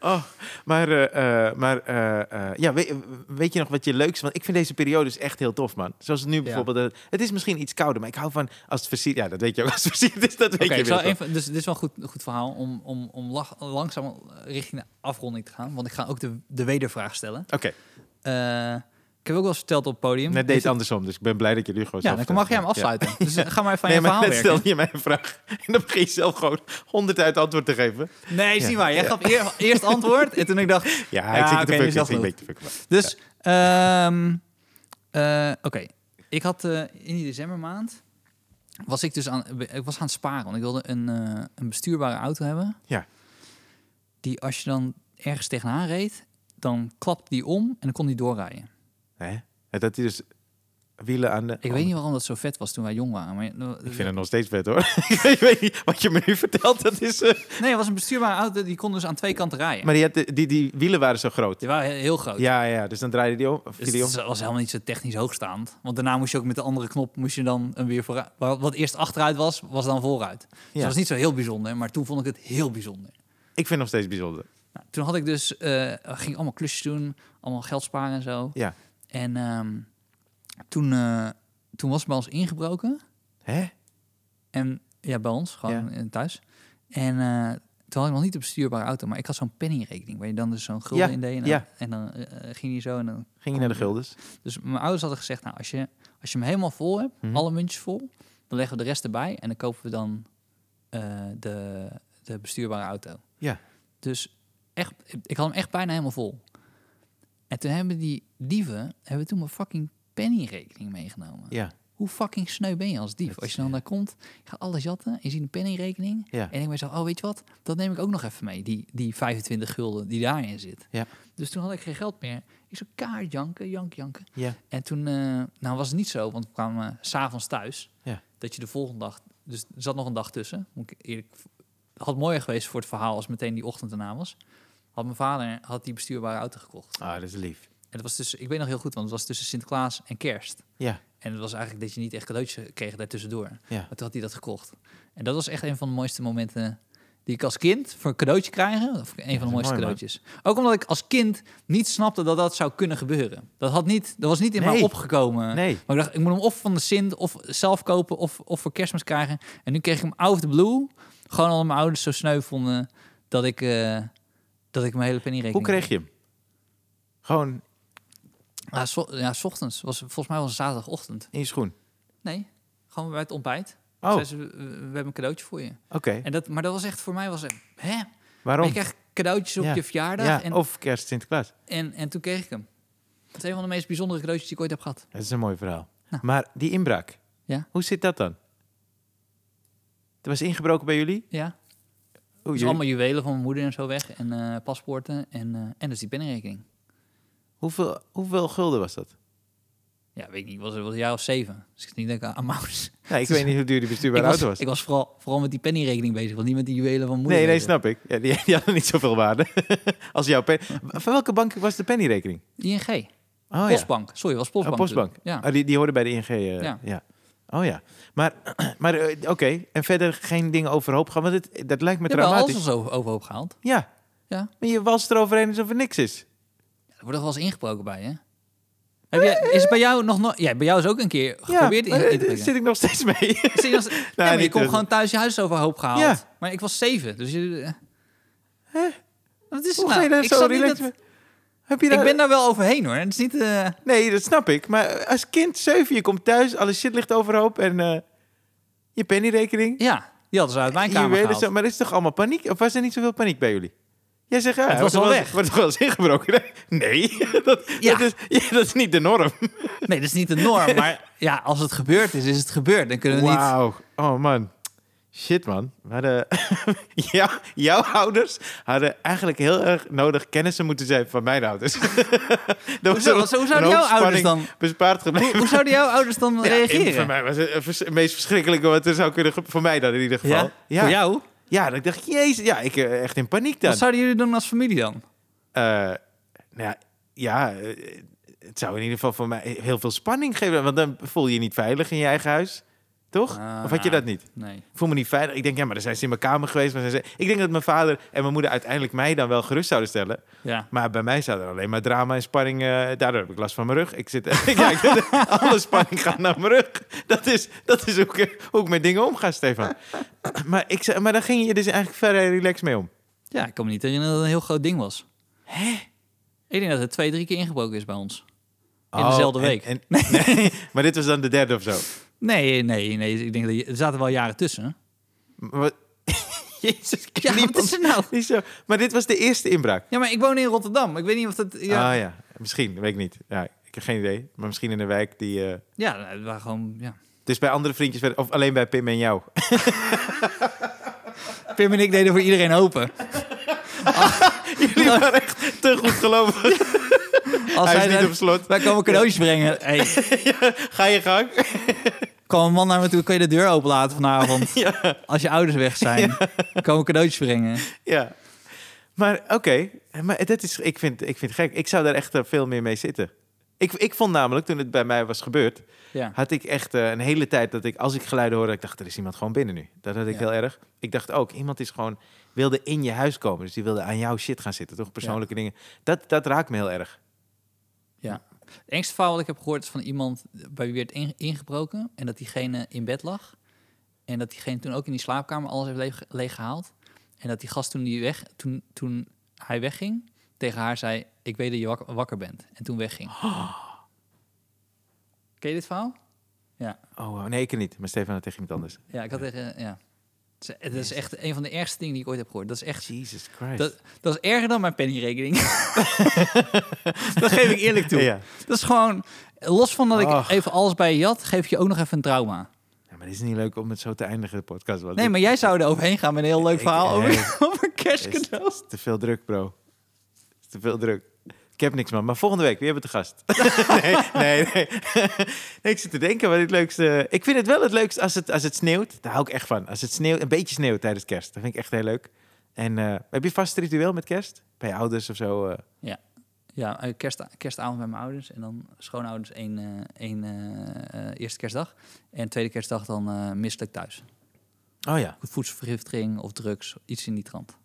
Speaker 1: Oh, maar, eh, eh, maar eh, eh, ja, weet, weet je nog wat je leukste... Want ik vind deze periodes echt heel tof, man. Zoals het nu bijvoorbeeld... eh, het is misschien iets kouder, maar ik hou van als het versierd... Ja, dat weet je ook. Als het versierd is, dat weet
Speaker 2: Oké,
Speaker 1: je
Speaker 2: ik zal
Speaker 1: wel.
Speaker 2: even- dus dit is wel een goed, goed verhaal om, om, om lach- langzaam richting de afronding te gaan. Want ik ga ook de, de wedervraag stellen.
Speaker 1: Oké,
Speaker 2: Eh, ik heb ook wel eens verteld op het podium.
Speaker 1: net
Speaker 2: Dus-
Speaker 1: deed andersom. Dus ik ben blij dat je nu gewoon
Speaker 2: Ja,
Speaker 1: zelf
Speaker 2: dan mag jij hem
Speaker 1: vertelt. Ja.
Speaker 2: afsluiten. Dus eh, ga maar even aan
Speaker 1: Nee,
Speaker 2: je
Speaker 1: maar
Speaker 2: verhaal
Speaker 1: net
Speaker 2: werken.
Speaker 1: stel je mij een vraag. En dan begin je zelf gewoon honderd uit antwoord te geven.
Speaker 2: Nee,
Speaker 1: Ja.
Speaker 2: zie maar. Jij
Speaker 1: Ja.
Speaker 2: gaf eer- eerst antwoord en toen ik dacht...
Speaker 1: Ja, ik zit
Speaker 2: oké,
Speaker 1: te fucken.
Speaker 2: nu is
Speaker 1: Ik
Speaker 2: dat
Speaker 1: zit een
Speaker 2: goed.
Speaker 1: beetje te fucken. maar-
Speaker 2: Dus, ehm, eh, oké. Ik had eh, in die decembermaand... Was ik dus aan, ik was aan het sparen. Want ik wilde een, eh, een bestuurbare auto hebben.
Speaker 1: Ja.
Speaker 2: Die als je dan ergens tegenaan reed... Dan klapte die om en dan kon die doorrijden.
Speaker 1: Hè? En Dat hij dus wielen aan de... Oh,
Speaker 2: Ik weet niet waarom dat zo vet was toen wij jong waren. Maar,
Speaker 1: Ik vind het nog steeds vet, hoor. ik weet niet wat je me nu vertelt. Dat is... eh,
Speaker 2: Nee, het was een bestuurbare auto. Die kon dus aan twee kanten rijden.
Speaker 1: Maar die, had de- die, die wielen waren zo groot.
Speaker 2: Die waren he- heel groot.
Speaker 1: Ja, ja, dus dan draaide die om. Of
Speaker 2: Dus
Speaker 1: die om.
Speaker 2: dat was helemaal niet zo technisch hoogstaand. Want daarna moest je ook met de andere knop moest je dan een weer vooruit. Wat wat eerst achteruit was, was dan vooruit. Dus dat was niet zo heel bijzonder, maar toen vond ik het heel bijzonder.
Speaker 1: Ik vind het nog steeds bijzonder.
Speaker 2: Nou, toen had ik dus, eh, ging ik allemaal klusjes doen, allemaal geld sparen en zo.
Speaker 1: Ja.
Speaker 2: En ehm, toen, eh, toen was het bij ons ingebroken.
Speaker 1: Hè?
Speaker 2: En ja, bij ons, gewoon eh, thuis. En eh, toen had ik nog niet een bestuurbare auto, maar ik had zo'n pennyrekening. Waar je dan dus zo'n gulden
Speaker 1: Ja,
Speaker 2: in deed. En, dan-
Speaker 1: ja.
Speaker 2: en dan eh, ging je zo en dan
Speaker 1: Ging je naar de guldens?
Speaker 2: Dus mijn ouders hadden gezegd, nou, als je, als je hem helemaal vol hebt,
Speaker 1: Mhm.
Speaker 2: alle muntjes vol, dan leggen we de rest erbij en dan kopen we dan eh, de, de bestuurbare auto.
Speaker 1: Ja.
Speaker 2: Dus echt, ik had hem echt bijna helemaal vol. En toen hebben die dieven, hebben toen mijn fucking pennyrekening meegenomen.
Speaker 1: Ja.
Speaker 2: Hoe fucking sneu ben je als dief?
Speaker 1: Dat
Speaker 2: Als
Speaker 1: is-
Speaker 2: je dan daar komt, je gaat alles jatten, je ziet een pennyrekening
Speaker 1: Ja.
Speaker 2: en ik ben zo, oh weet je wat, dat neem ik ook nog even mee, die, die 25 gulden die daarin zit.
Speaker 1: Ja.
Speaker 2: Dus toen had ik geen geld meer. Ik zo kaart janken, jank, janken.
Speaker 1: Ja.
Speaker 2: En toen, eh, nou was het niet zo, want we kwamen eh, s s'avonds thuis.
Speaker 1: Ja.
Speaker 2: Dat je de volgende dag, dus er zat nog een dag tussen. Moet ik eerlijk, had mooier geweest voor het verhaal als meteen die ochtend erna was. Had mijn vader had die bestuurbare auto gekocht.
Speaker 1: Ah, dat is lief.
Speaker 2: En dat was tussen, ik weet nog heel goed, want het was tussen Sinterklaas en Kerst.
Speaker 1: Ja.
Speaker 2: En het was eigenlijk dat je niet echt cadeautjes kreeg daartussendoor.
Speaker 1: Ja.
Speaker 2: Maar toen had hij dat gekocht. En dat was echt een van de mooiste momenten die ik als kind voor een cadeautje krijgen. Of een van
Speaker 1: is
Speaker 2: de mooiste
Speaker 1: mooi, man.
Speaker 2: cadeautjes. Ook omdat ik als kind niet snapte dat dat zou kunnen gebeuren. Dat, had niet, dat was niet in mij
Speaker 1: Nee.
Speaker 2: opgekomen.
Speaker 1: Nee.
Speaker 2: Maar Eh, ik dacht, ik moet hem of van de Sint of zelf kopen of, of voor kerstmis krijgen. En nu kreeg ik hem out of the blue. Gewoon omdat mijn ouders zo sneu vonden dat ik, eh, dat ik mijn hele penny
Speaker 1: Hoe
Speaker 2: rekening...
Speaker 1: kreeg je hem? Gewoon
Speaker 2: Ja, so, ja, 's ochtends. Was, volgens mij was het zaterdagochtend.
Speaker 1: in je schoen.
Speaker 2: Nee, gewoon bij het ontbijt.
Speaker 1: Oh,
Speaker 2: Zeiden
Speaker 1: oké.
Speaker 2: ze, we, we hebben een cadeautje voor je. En dat, maar dat was echt, voor mij was het, hè? Maar
Speaker 1: Waarom?
Speaker 2: Je krijgt cadeautjes op
Speaker 1: Ja.
Speaker 2: je verjaardag.
Speaker 1: Ja,
Speaker 2: en,
Speaker 1: of kerst Sinterklaas.
Speaker 2: en, en toen kreeg ik hem. Dat is een van de meest bijzondere cadeautjes die ik ooit heb gehad.
Speaker 1: Dat is een mooi verhaal.
Speaker 2: Nou.
Speaker 1: Maar die inbraak.
Speaker 2: Ja.
Speaker 1: Hoe zit dat dan? Er was ingebroken bij jullie?
Speaker 2: Ja.
Speaker 1: Oeh,
Speaker 2: Dus
Speaker 1: jullie-
Speaker 2: allemaal juwelen van mijn moeder en zo weg. En eh, paspoorten. En, eh, en dus die penninrekening.
Speaker 1: hoeveel, hoeveel gulden was dat?
Speaker 2: Ja, weet ik niet. Was, was een jaar of zeven. Dus ik denk dat ik aan- aan Maus.
Speaker 1: Nou, ik weet niet hoe duur die
Speaker 2: Ik
Speaker 1: bestuurbare
Speaker 2: was,
Speaker 1: auto was.
Speaker 2: ik was vooral, vooral met die pennyrekening bezig. Want niet met die juwelen van mijn moeder.
Speaker 1: Nee, nee,
Speaker 2: bezig.
Speaker 1: snap ik. Ja, die, die hadden niet zoveel waarde als jouw pen. Van welke bank was de pennyrekening?
Speaker 2: ING.
Speaker 1: Oh ja.
Speaker 2: Postbank. Sorry, was postbank.
Speaker 1: Oh, postbank.
Speaker 2: toen. Ja.
Speaker 1: Ah, die, die hoorde bij de ING. eh, ja.
Speaker 2: Ja.
Speaker 1: Oh ja. Maar, maar eh, oké. En verder geen dingen overhoop gaan. Want het, dat lijkt me
Speaker 2: Ik heb wel
Speaker 1: traumatisch.
Speaker 2: alles zo overhoop gehaald.
Speaker 1: Ja.
Speaker 2: Ja.
Speaker 1: Maar je walst eroverheen alsof er niks is.
Speaker 2: Er wordt er wel eens ingebroken bij, hè? Heb jij, is het bij jou nog nooit... Ja, bij jou is ook een keer geprobeerd
Speaker 1: maar,
Speaker 2: in, in
Speaker 1: eh,
Speaker 2: te breken.
Speaker 1: zit ik nog steeds mee.
Speaker 2: Ik zie als- Nee, maar je
Speaker 1: niet
Speaker 2: komt
Speaker 1: dus.
Speaker 2: gewoon thuis je huis overhoop gehaald.
Speaker 1: Ja.
Speaker 2: Maar ik was zeven, dus je... Wat is het
Speaker 1: Hoe ga je
Speaker 2: nou?
Speaker 1: daar
Speaker 2: Ik,
Speaker 1: zo
Speaker 2: snap niet
Speaker 1: relaxed
Speaker 2: dat-
Speaker 1: mee? Heb je daar...
Speaker 2: ik ben daar wel overheen, hoor. Het is niet... eh,
Speaker 1: Nee, dat snap ik. Maar als kind, zeven, je komt thuis, alle shit ligt overhoop en eh, je pennyrekening.
Speaker 2: Ja, die hadden ze uit mijn kamer
Speaker 1: Juwelen
Speaker 2: gehaald.
Speaker 1: zo- maar er is toch allemaal paniek? Of was er niet zoveel paniek bij jullie? Jij zegt, ja,
Speaker 2: Het was
Speaker 1: wordt
Speaker 2: wel
Speaker 1: er Wordt er wel eens ingebroken? Nee, dat,
Speaker 2: Ja.
Speaker 1: dat, is, ja, dat is niet de norm.
Speaker 2: Nee, dat is niet de norm, maar ja, als het gebeurd is, is het gebeurd. Dan kunnen we niet...
Speaker 1: Wauw. Oh man. Shit man. Maar, jou, jouw ouders hadden eigenlijk heel erg nodig kennissen moeten zijn van mijn ouders. Dat
Speaker 2: Hoezo? Wat- hoe zouden
Speaker 1: een hoop
Speaker 2: jouw ouders
Speaker 1: spanning bespaard gebleven.
Speaker 2: Hoe zouden jouw ouders dan
Speaker 1: Ja,
Speaker 2: reageren?
Speaker 1: en Voor mij was het het vers- het meest verschrikkelijke wat er zou kunnen... ge- Voor mij dan in ieder geval.
Speaker 2: Ja?
Speaker 1: ja.
Speaker 2: Voor jou?
Speaker 1: Ja, dan dacht ik, jezus. Ja, ik eh, echt in paniek dan.
Speaker 2: Wat zouden jullie doen als familie dan?
Speaker 1: Eh, nou ja, ja, eh, het zou in ieder geval voor mij heel veel spanning geven. Want dan voel je je niet veilig in je eigen huis. Toch?
Speaker 2: Ah,
Speaker 1: of had je
Speaker 2: ja.
Speaker 1: dat niet?
Speaker 2: Nee.
Speaker 1: Ik voel me niet veilig. Ik denk, ja, maar dan zijn ze in mijn kamer geweest. Maar zijn ze... Ik denk dat mijn vader en mijn moeder uiteindelijk mij dan wel gerust zouden stellen.
Speaker 2: Ja.
Speaker 1: Maar bij mij staat er alleen maar drama en spanning. eh, daardoor heb ik last van mijn rug. Ik zit, ja, ik zit- alle spanning gaat naar mijn rug. Dat is, dat is hoe, ik, hoe ik met dingen omga, Stefan. Maar, ik, zei- maar daar ging je dus eigenlijk verder relaxed mee om.
Speaker 2: ja, ik kan me niet herinneren dat het een heel groot ding was. Hè? Ik denk dat het twee, drie keer ingebroken is bij ons. In
Speaker 1: Oh,
Speaker 2: dezelfde
Speaker 1: en-
Speaker 2: week.
Speaker 1: en- nee, maar dit was dan de derde of zo.
Speaker 2: Nee, nee, nee. Ik denk dat je, er zaten wel jaren tussen.
Speaker 1: Wat- Jezus, ik
Speaker 2: Ja,
Speaker 1: liep
Speaker 2: wat is er nou?
Speaker 1: niet zo. Maar dit was de eerste inbraak.
Speaker 2: Ja, maar ik woon in Rotterdam. Ik weet niet of dat... Ja,
Speaker 1: Ah ja, misschien, weet ik niet. Ja, ik heb geen idee. Maar misschien in een wijk die... eh,
Speaker 2: ja het waren gewoon... Ja.
Speaker 1: dus bij andere vriendjes, werd- of alleen bij Pim en jou.
Speaker 2: Pim en ik deden voor iedereen open.
Speaker 1: Jullie waren echt te goed geloven.
Speaker 2: Als
Speaker 1: Hij
Speaker 2: hij
Speaker 1: is niet
Speaker 2: dan-
Speaker 1: op slot.
Speaker 2: Wij komen cadeautjes brengen. Hey,
Speaker 1: Ga je gang.
Speaker 2: kwam een man naar me toe, kan je de deur openlaten vanavond? Als je ouders weg zijn, komen cadeautjes brengen.
Speaker 1: Ja. Maar oké, maar dat is, ik, vind, ik vind het gek. Ik zou daar echt eh, veel meer mee zitten. Ik, ik vond namelijk, toen het bij mij was gebeurd,
Speaker 2: Ja.
Speaker 1: had ik echt eh, een hele tijd dat ik, als ik geluiden hoorde, ik dacht, er is iemand gewoon binnen nu. Dat had ik
Speaker 2: Ja.
Speaker 1: heel erg. Ik dacht ook, iemand is gewoon, wilde in je huis komen. Dus die wilde aan jouw shit gaan zitten, toch? Persoonlijke dingen. Dat, dat raakt me heel erg.
Speaker 2: ja. Het engste verhaal wat ik heb gehoord is van iemand bij wie werd in- ingebroken. En dat diegene in bed lag. En dat diegene toen ook in die slaapkamer alles heeft leeg, leeggehaald. En dat die gast toen, die weg, toen, toen hij wegging, tegen haar zei... Ik weet dat je wak- wakker bent. En toen wegging. Ken je dit verhaal? Ja.
Speaker 1: Oh, wow. nee, ik niet. Maar Stefan had tegen iemand anders.
Speaker 2: Ja, ik had tegen... Ja. Het is- Het is echt een van de ergste dingen die ik ooit heb gehoord. Dat is echt
Speaker 1: Jesus Christ.
Speaker 2: Dat, dat is erger dan mijn pennyrekening. dat geef ik eerlijk toe.
Speaker 1: Ja.
Speaker 2: Dat is gewoon, los van dat ik
Speaker 1: Ach.
Speaker 2: even alles bij je jat, geef ik je ook nog even een trauma.
Speaker 1: Ja, maar dit is niet leuk om het zo te eindigen, de podcast. want
Speaker 2: Nee,
Speaker 1: dit
Speaker 2: maar jij zou er overheen gaan met een heel leuk
Speaker 1: Ik-
Speaker 2: verhaal
Speaker 1: nee.
Speaker 2: over, over
Speaker 1: is,
Speaker 2: kerstcadeaus.
Speaker 1: is te veel druk, bro. Is te veel druk. Ik heb niks, man. Maar volgende week, wie hebben we te gast? nee, nee, nee. nee. Ik zit te denken wat het leukste... Ik vind het wel het leukst als het, als het sneeuwt. Daar hou ik echt van. Als het sneeuwt, een beetje sneeuwt tijdens kerst. Dat vind ik echt heel leuk. En eh, heb je vast een ritueel met kerst? Bij je ouders of zo? eh?
Speaker 2: Ja, eh, kerst, kerstavond bij mijn ouders en dan schoonouders één, eh, één eh, eh, eerste kerstdag. En tweede kerstdag dan eh misselijk thuis.
Speaker 1: Oh ja.
Speaker 2: Voedselvergiftiging of drugs, iets in die trant.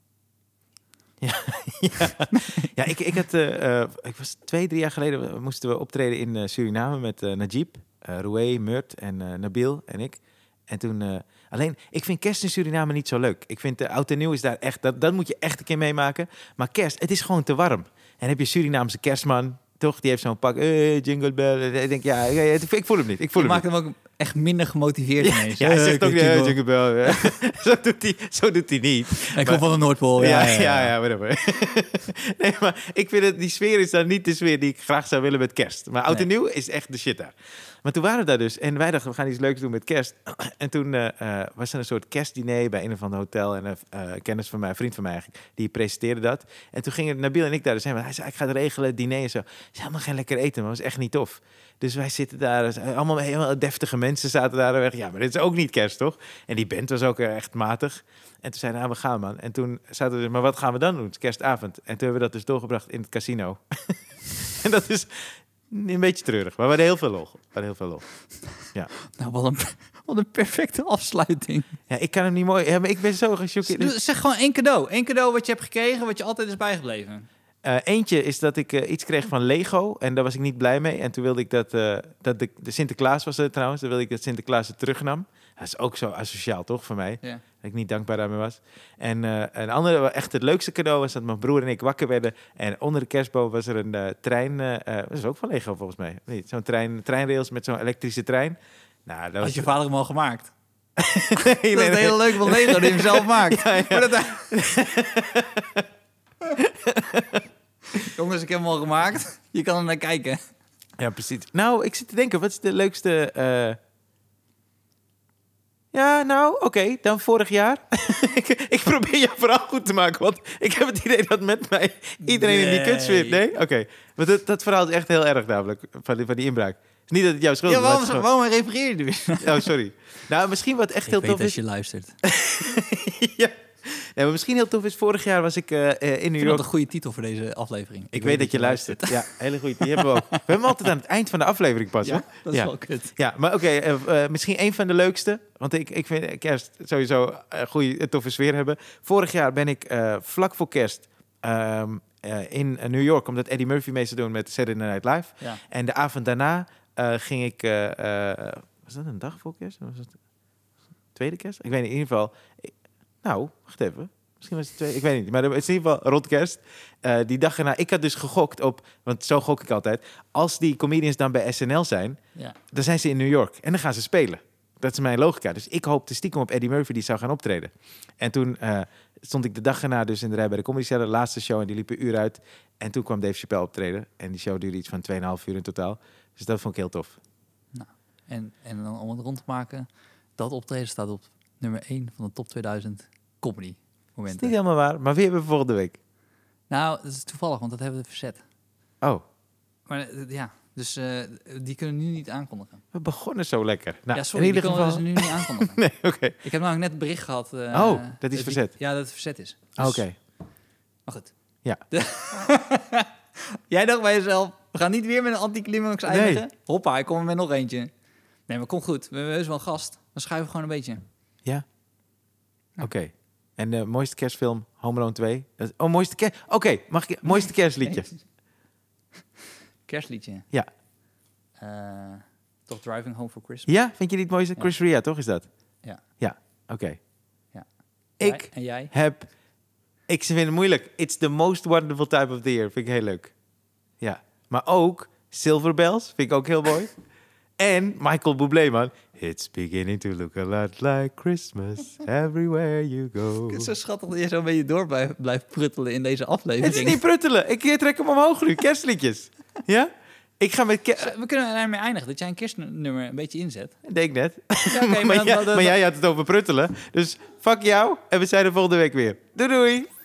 Speaker 1: Ja, ik, ik had... eh, eh, ik was twee, drie jaar geleden eh, moesten we optreden in eh, Suriname met eh, Najib, eh Roué, Murt en eh, Nabil en ik. En toen... eh, alleen, ik vind kerst in Suriname niet zo leuk. Ik vind eh, oud en nieuw is daar echt... Dat, dat moet je echt een keer meemaken. Maar kerst, het is gewoon te warm. En heb je Surinaamse kerstman... Toch, die heeft zo'n pak, eh, jingle bell. Ik denk, ja, ja, het- ik voel hem niet. Ik voel
Speaker 2: Je
Speaker 1: hem
Speaker 2: maakt hem ook echt minder gemotiveerd ineens.
Speaker 1: niet. Ja, hij
Speaker 2: Eh,
Speaker 1: zegt ook,
Speaker 2: ik-
Speaker 1: eh,
Speaker 2: ik-
Speaker 1: jingle bell. ja. zo, doet hij, zo doet hij niet.
Speaker 2: Ik kom van de Noordpool.
Speaker 1: Ja, ja, ja, whatever. nee, maar ik vind het, die sfeer is dan niet de sfeer die ik graag zou willen met kerst. Maar oud en nieuw is echt de shit daar. Maar toen waren we daar dus en wij dachten, we gaan iets leuks doen met kerst. en toen eh, eh, was er een soort kerstdiner bij een of ander hotel. En een eh, kennis van mij, een vriend van mij eigenlijk, die presenteerde dat. En toen gingen Nabil en ik daar dus heen. want Hij zei, ik ga het regelen, diner en zo. Het is helemaal geen lekker eten, maar het was echt niet tof. Dus wij zitten daar, dus, eh, allemaal helemaal deftige mensen zaten daar. En wij dachten, ja, maar dit is ook niet kerst, toch? En die band was ook eh, echt matig. En toen zeiden we, nou, we gaan, man. En toen zaten we, dus, maar wat gaan we dan doen? Het is kerstavond. En toen hebben we dat dus doorgebracht in het casino. en dat is een beetje treurig, maar we hadden heel veel lol. We hadden heel veel lol.
Speaker 2: Nou, wat een, wat een perfecte afsluiting.
Speaker 1: Ja, ik kan hem niet mooi... Ja, maar ik ben zo gechoqueerd.
Speaker 2: Dus zeg gewoon één cadeau. Eén cadeau wat je hebt gekregen, wat je altijd is bijgebleven.
Speaker 1: Eh, eentje is dat ik eh, iets kreeg van Lego en daar was ik niet blij mee. En toen wilde ik dat, eh, dat de, de Sinterklaas was er trouwens, dan wilde ik dat Sinterklaas het terugnam. Dat is ook zo asociaal, toch, voor mij?
Speaker 2: Ja.
Speaker 1: Dat ik niet dankbaar daarmee was. En eh, een andere, wel echt het leukste cadeau was dat mijn broer en ik wakker werden. En onder de kerstboom was er een eh, trein, eh, eh, dat is ook van Lego volgens mij. of niet? Zo'n trein, treinrails met zo'n elektrische trein. Nou, dat
Speaker 2: Had
Speaker 1: was...
Speaker 2: je vader hem al gemaakt.
Speaker 1: Nee, nee,
Speaker 2: dat is het
Speaker 1: nee.
Speaker 2: hele leuke van Lego, die hem zelf maakt. Maar dat- Jongens, ik heb hem al gemaakt. Je kan er naar kijken.
Speaker 1: Ja, precies. Nou, ik zit te denken, wat is de leukste... eh, Ja, nou, oké, dan vorig jaar. ik, ik probeer je verhaal goed te maken, want ik heb het idee dat met mij iedereen in die kut zit.
Speaker 2: Nee.
Speaker 1: Nee? Oké. Want dat, dat verhaal is echt heel erg namelijk, van die, van die inbraak. Niet dat het jouw schuld
Speaker 2: Ja,
Speaker 1: is, maar
Speaker 2: waarom,
Speaker 1: het is
Speaker 2: waarom refereer je er weer?
Speaker 1: gewoon- Oh, sorry. Nou, misschien wat echt heel tof is...
Speaker 2: luistert.
Speaker 1: ja. Nee, maar misschien heel tof is, vorig jaar was ik eh, eh, in New
Speaker 2: Ik vind dat
Speaker 1: York.
Speaker 2: een goede titel voor deze aflevering.
Speaker 1: Ik weet dat je luistert. Ja, hele goed. Die hebben we ook. We hebben hem altijd aan het eind van de aflevering pas. hoor.
Speaker 2: Ja, dat is
Speaker 1: Ja.
Speaker 2: wel kut.
Speaker 1: Ja, maar oké, eh, eh, misschien een van de leukste. Want ik, ik vind kerst sowieso een goede, een toffe sfeer hebben. Vorig jaar ben ik eh, vlak voor kerst ehm, eh, in eh, New York... omdat Eddie Murphy mee zou doen met Saturday Night Live.
Speaker 2: Ja.
Speaker 1: En de avond daarna eh, ging ik... eh, eh, was dat een dag voor kerst? Was dat tweede kerst? Ik weet niet, in ieder geval... ik- nou, wacht even. Misschien was het twee, ik weet niet. Maar het is in ieder geval rond kerst. Eh, die dag erna, ik had dus gegokt op... want zo gok ik altijd. Als die comedians dan bij SNL zijn...
Speaker 2: Ja.
Speaker 1: Dan zijn ze in New York en dan gaan ze spelen. Dat is mijn logica. Dus ik hoopte stiekem op Eddie Murphy die zou gaan optreden. En toen eh, stond ik de dag erna dus in de rij bij de Comedy Cellar. De laatste show en die liep een uur uit. En toen kwam Dave Chappelle optreden. En die show duurde iets van 2,5 uur in totaal. Dus dat vond ik heel tof.
Speaker 2: En, en dan om het rond te maken, dat optreden staat op nummer 1 van de top 2000 comedy
Speaker 1: Dat is
Speaker 2: momenten.
Speaker 1: niet helemaal waar, maar wie hebben we volgende week?
Speaker 2: Nou, dat is toevallig, want dat hebben we verzet.
Speaker 1: Oh,
Speaker 2: Maar eh, ja, dus eh, die kunnen we nu niet aankondigen.
Speaker 1: we begonnen zo lekker. Nou,
Speaker 2: ja, sorry,
Speaker 1: in
Speaker 2: die
Speaker 1: ieder
Speaker 2: kunnen we
Speaker 1: geval...
Speaker 2: dus nu niet aankondigen.
Speaker 1: Nee, oké.
Speaker 2: Ik heb namelijk net een bericht gehad. eh,
Speaker 1: Oh, dat is
Speaker 2: die-
Speaker 1: verzet.
Speaker 2: ja, dat het verzet is. Dus-
Speaker 1: Ah, Oké.
Speaker 2: Maar goed.
Speaker 1: Ja.
Speaker 2: De- Jij dacht bij jezelf, we gaan niet weer met een anticlimax
Speaker 1: Nee.
Speaker 2: eindigen. Hoppa, ik kom er met nog eentje. Nee, maar kom goed. We hebben heus wel een gast. Dan schuiven we gewoon een beetje.
Speaker 1: Ja? Oké. En de mooiste kerstfilm, Home Alone 2. Dat- Oh, mooiste kerst... Oké, mag ik... Mooiste kerstliedje.
Speaker 2: Kerstliedje.
Speaker 1: Ja.
Speaker 2: Eh, toch Driving Home for Christmas.
Speaker 1: Ja, vind je die het mooiste?
Speaker 2: Ja.
Speaker 1: Chris Ria, toch is dat?
Speaker 2: Ja.
Speaker 1: Ja, oké.
Speaker 2: Ja.
Speaker 1: Ik
Speaker 2: Jij- En jij?
Speaker 1: heb... Ik vind het moeilijk. It's the most wonderful time of the year. Vind ik heel leuk. Ja. Maar ook Silver Bells vind ik ook heel mooi. en Michael Bublé, man. It's beginning to look a lot like Christmas everywhere you go.
Speaker 2: Het is zo schattig dat je zo een beetje door blijft, blijft pruttelen in deze aflevering.
Speaker 1: Het is niet pruttelen. Ik trek hem omhoog nu. Kerstliedjes. ja? Ik ga met... Ke-
Speaker 2: We kunnen daarmee eindigen dat jij een kerstnummer een beetje inzet.
Speaker 1: Denk net.
Speaker 2: Ja, oké,
Speaker 1: maar,
Speaker 2: dan-
Speaker 1: jij-
Speaker 2: dan- dan-
Speaker 1: maar jij had het over pruttelen. Dus fuck jou. En we zijn er volgende week weer. Doei doei.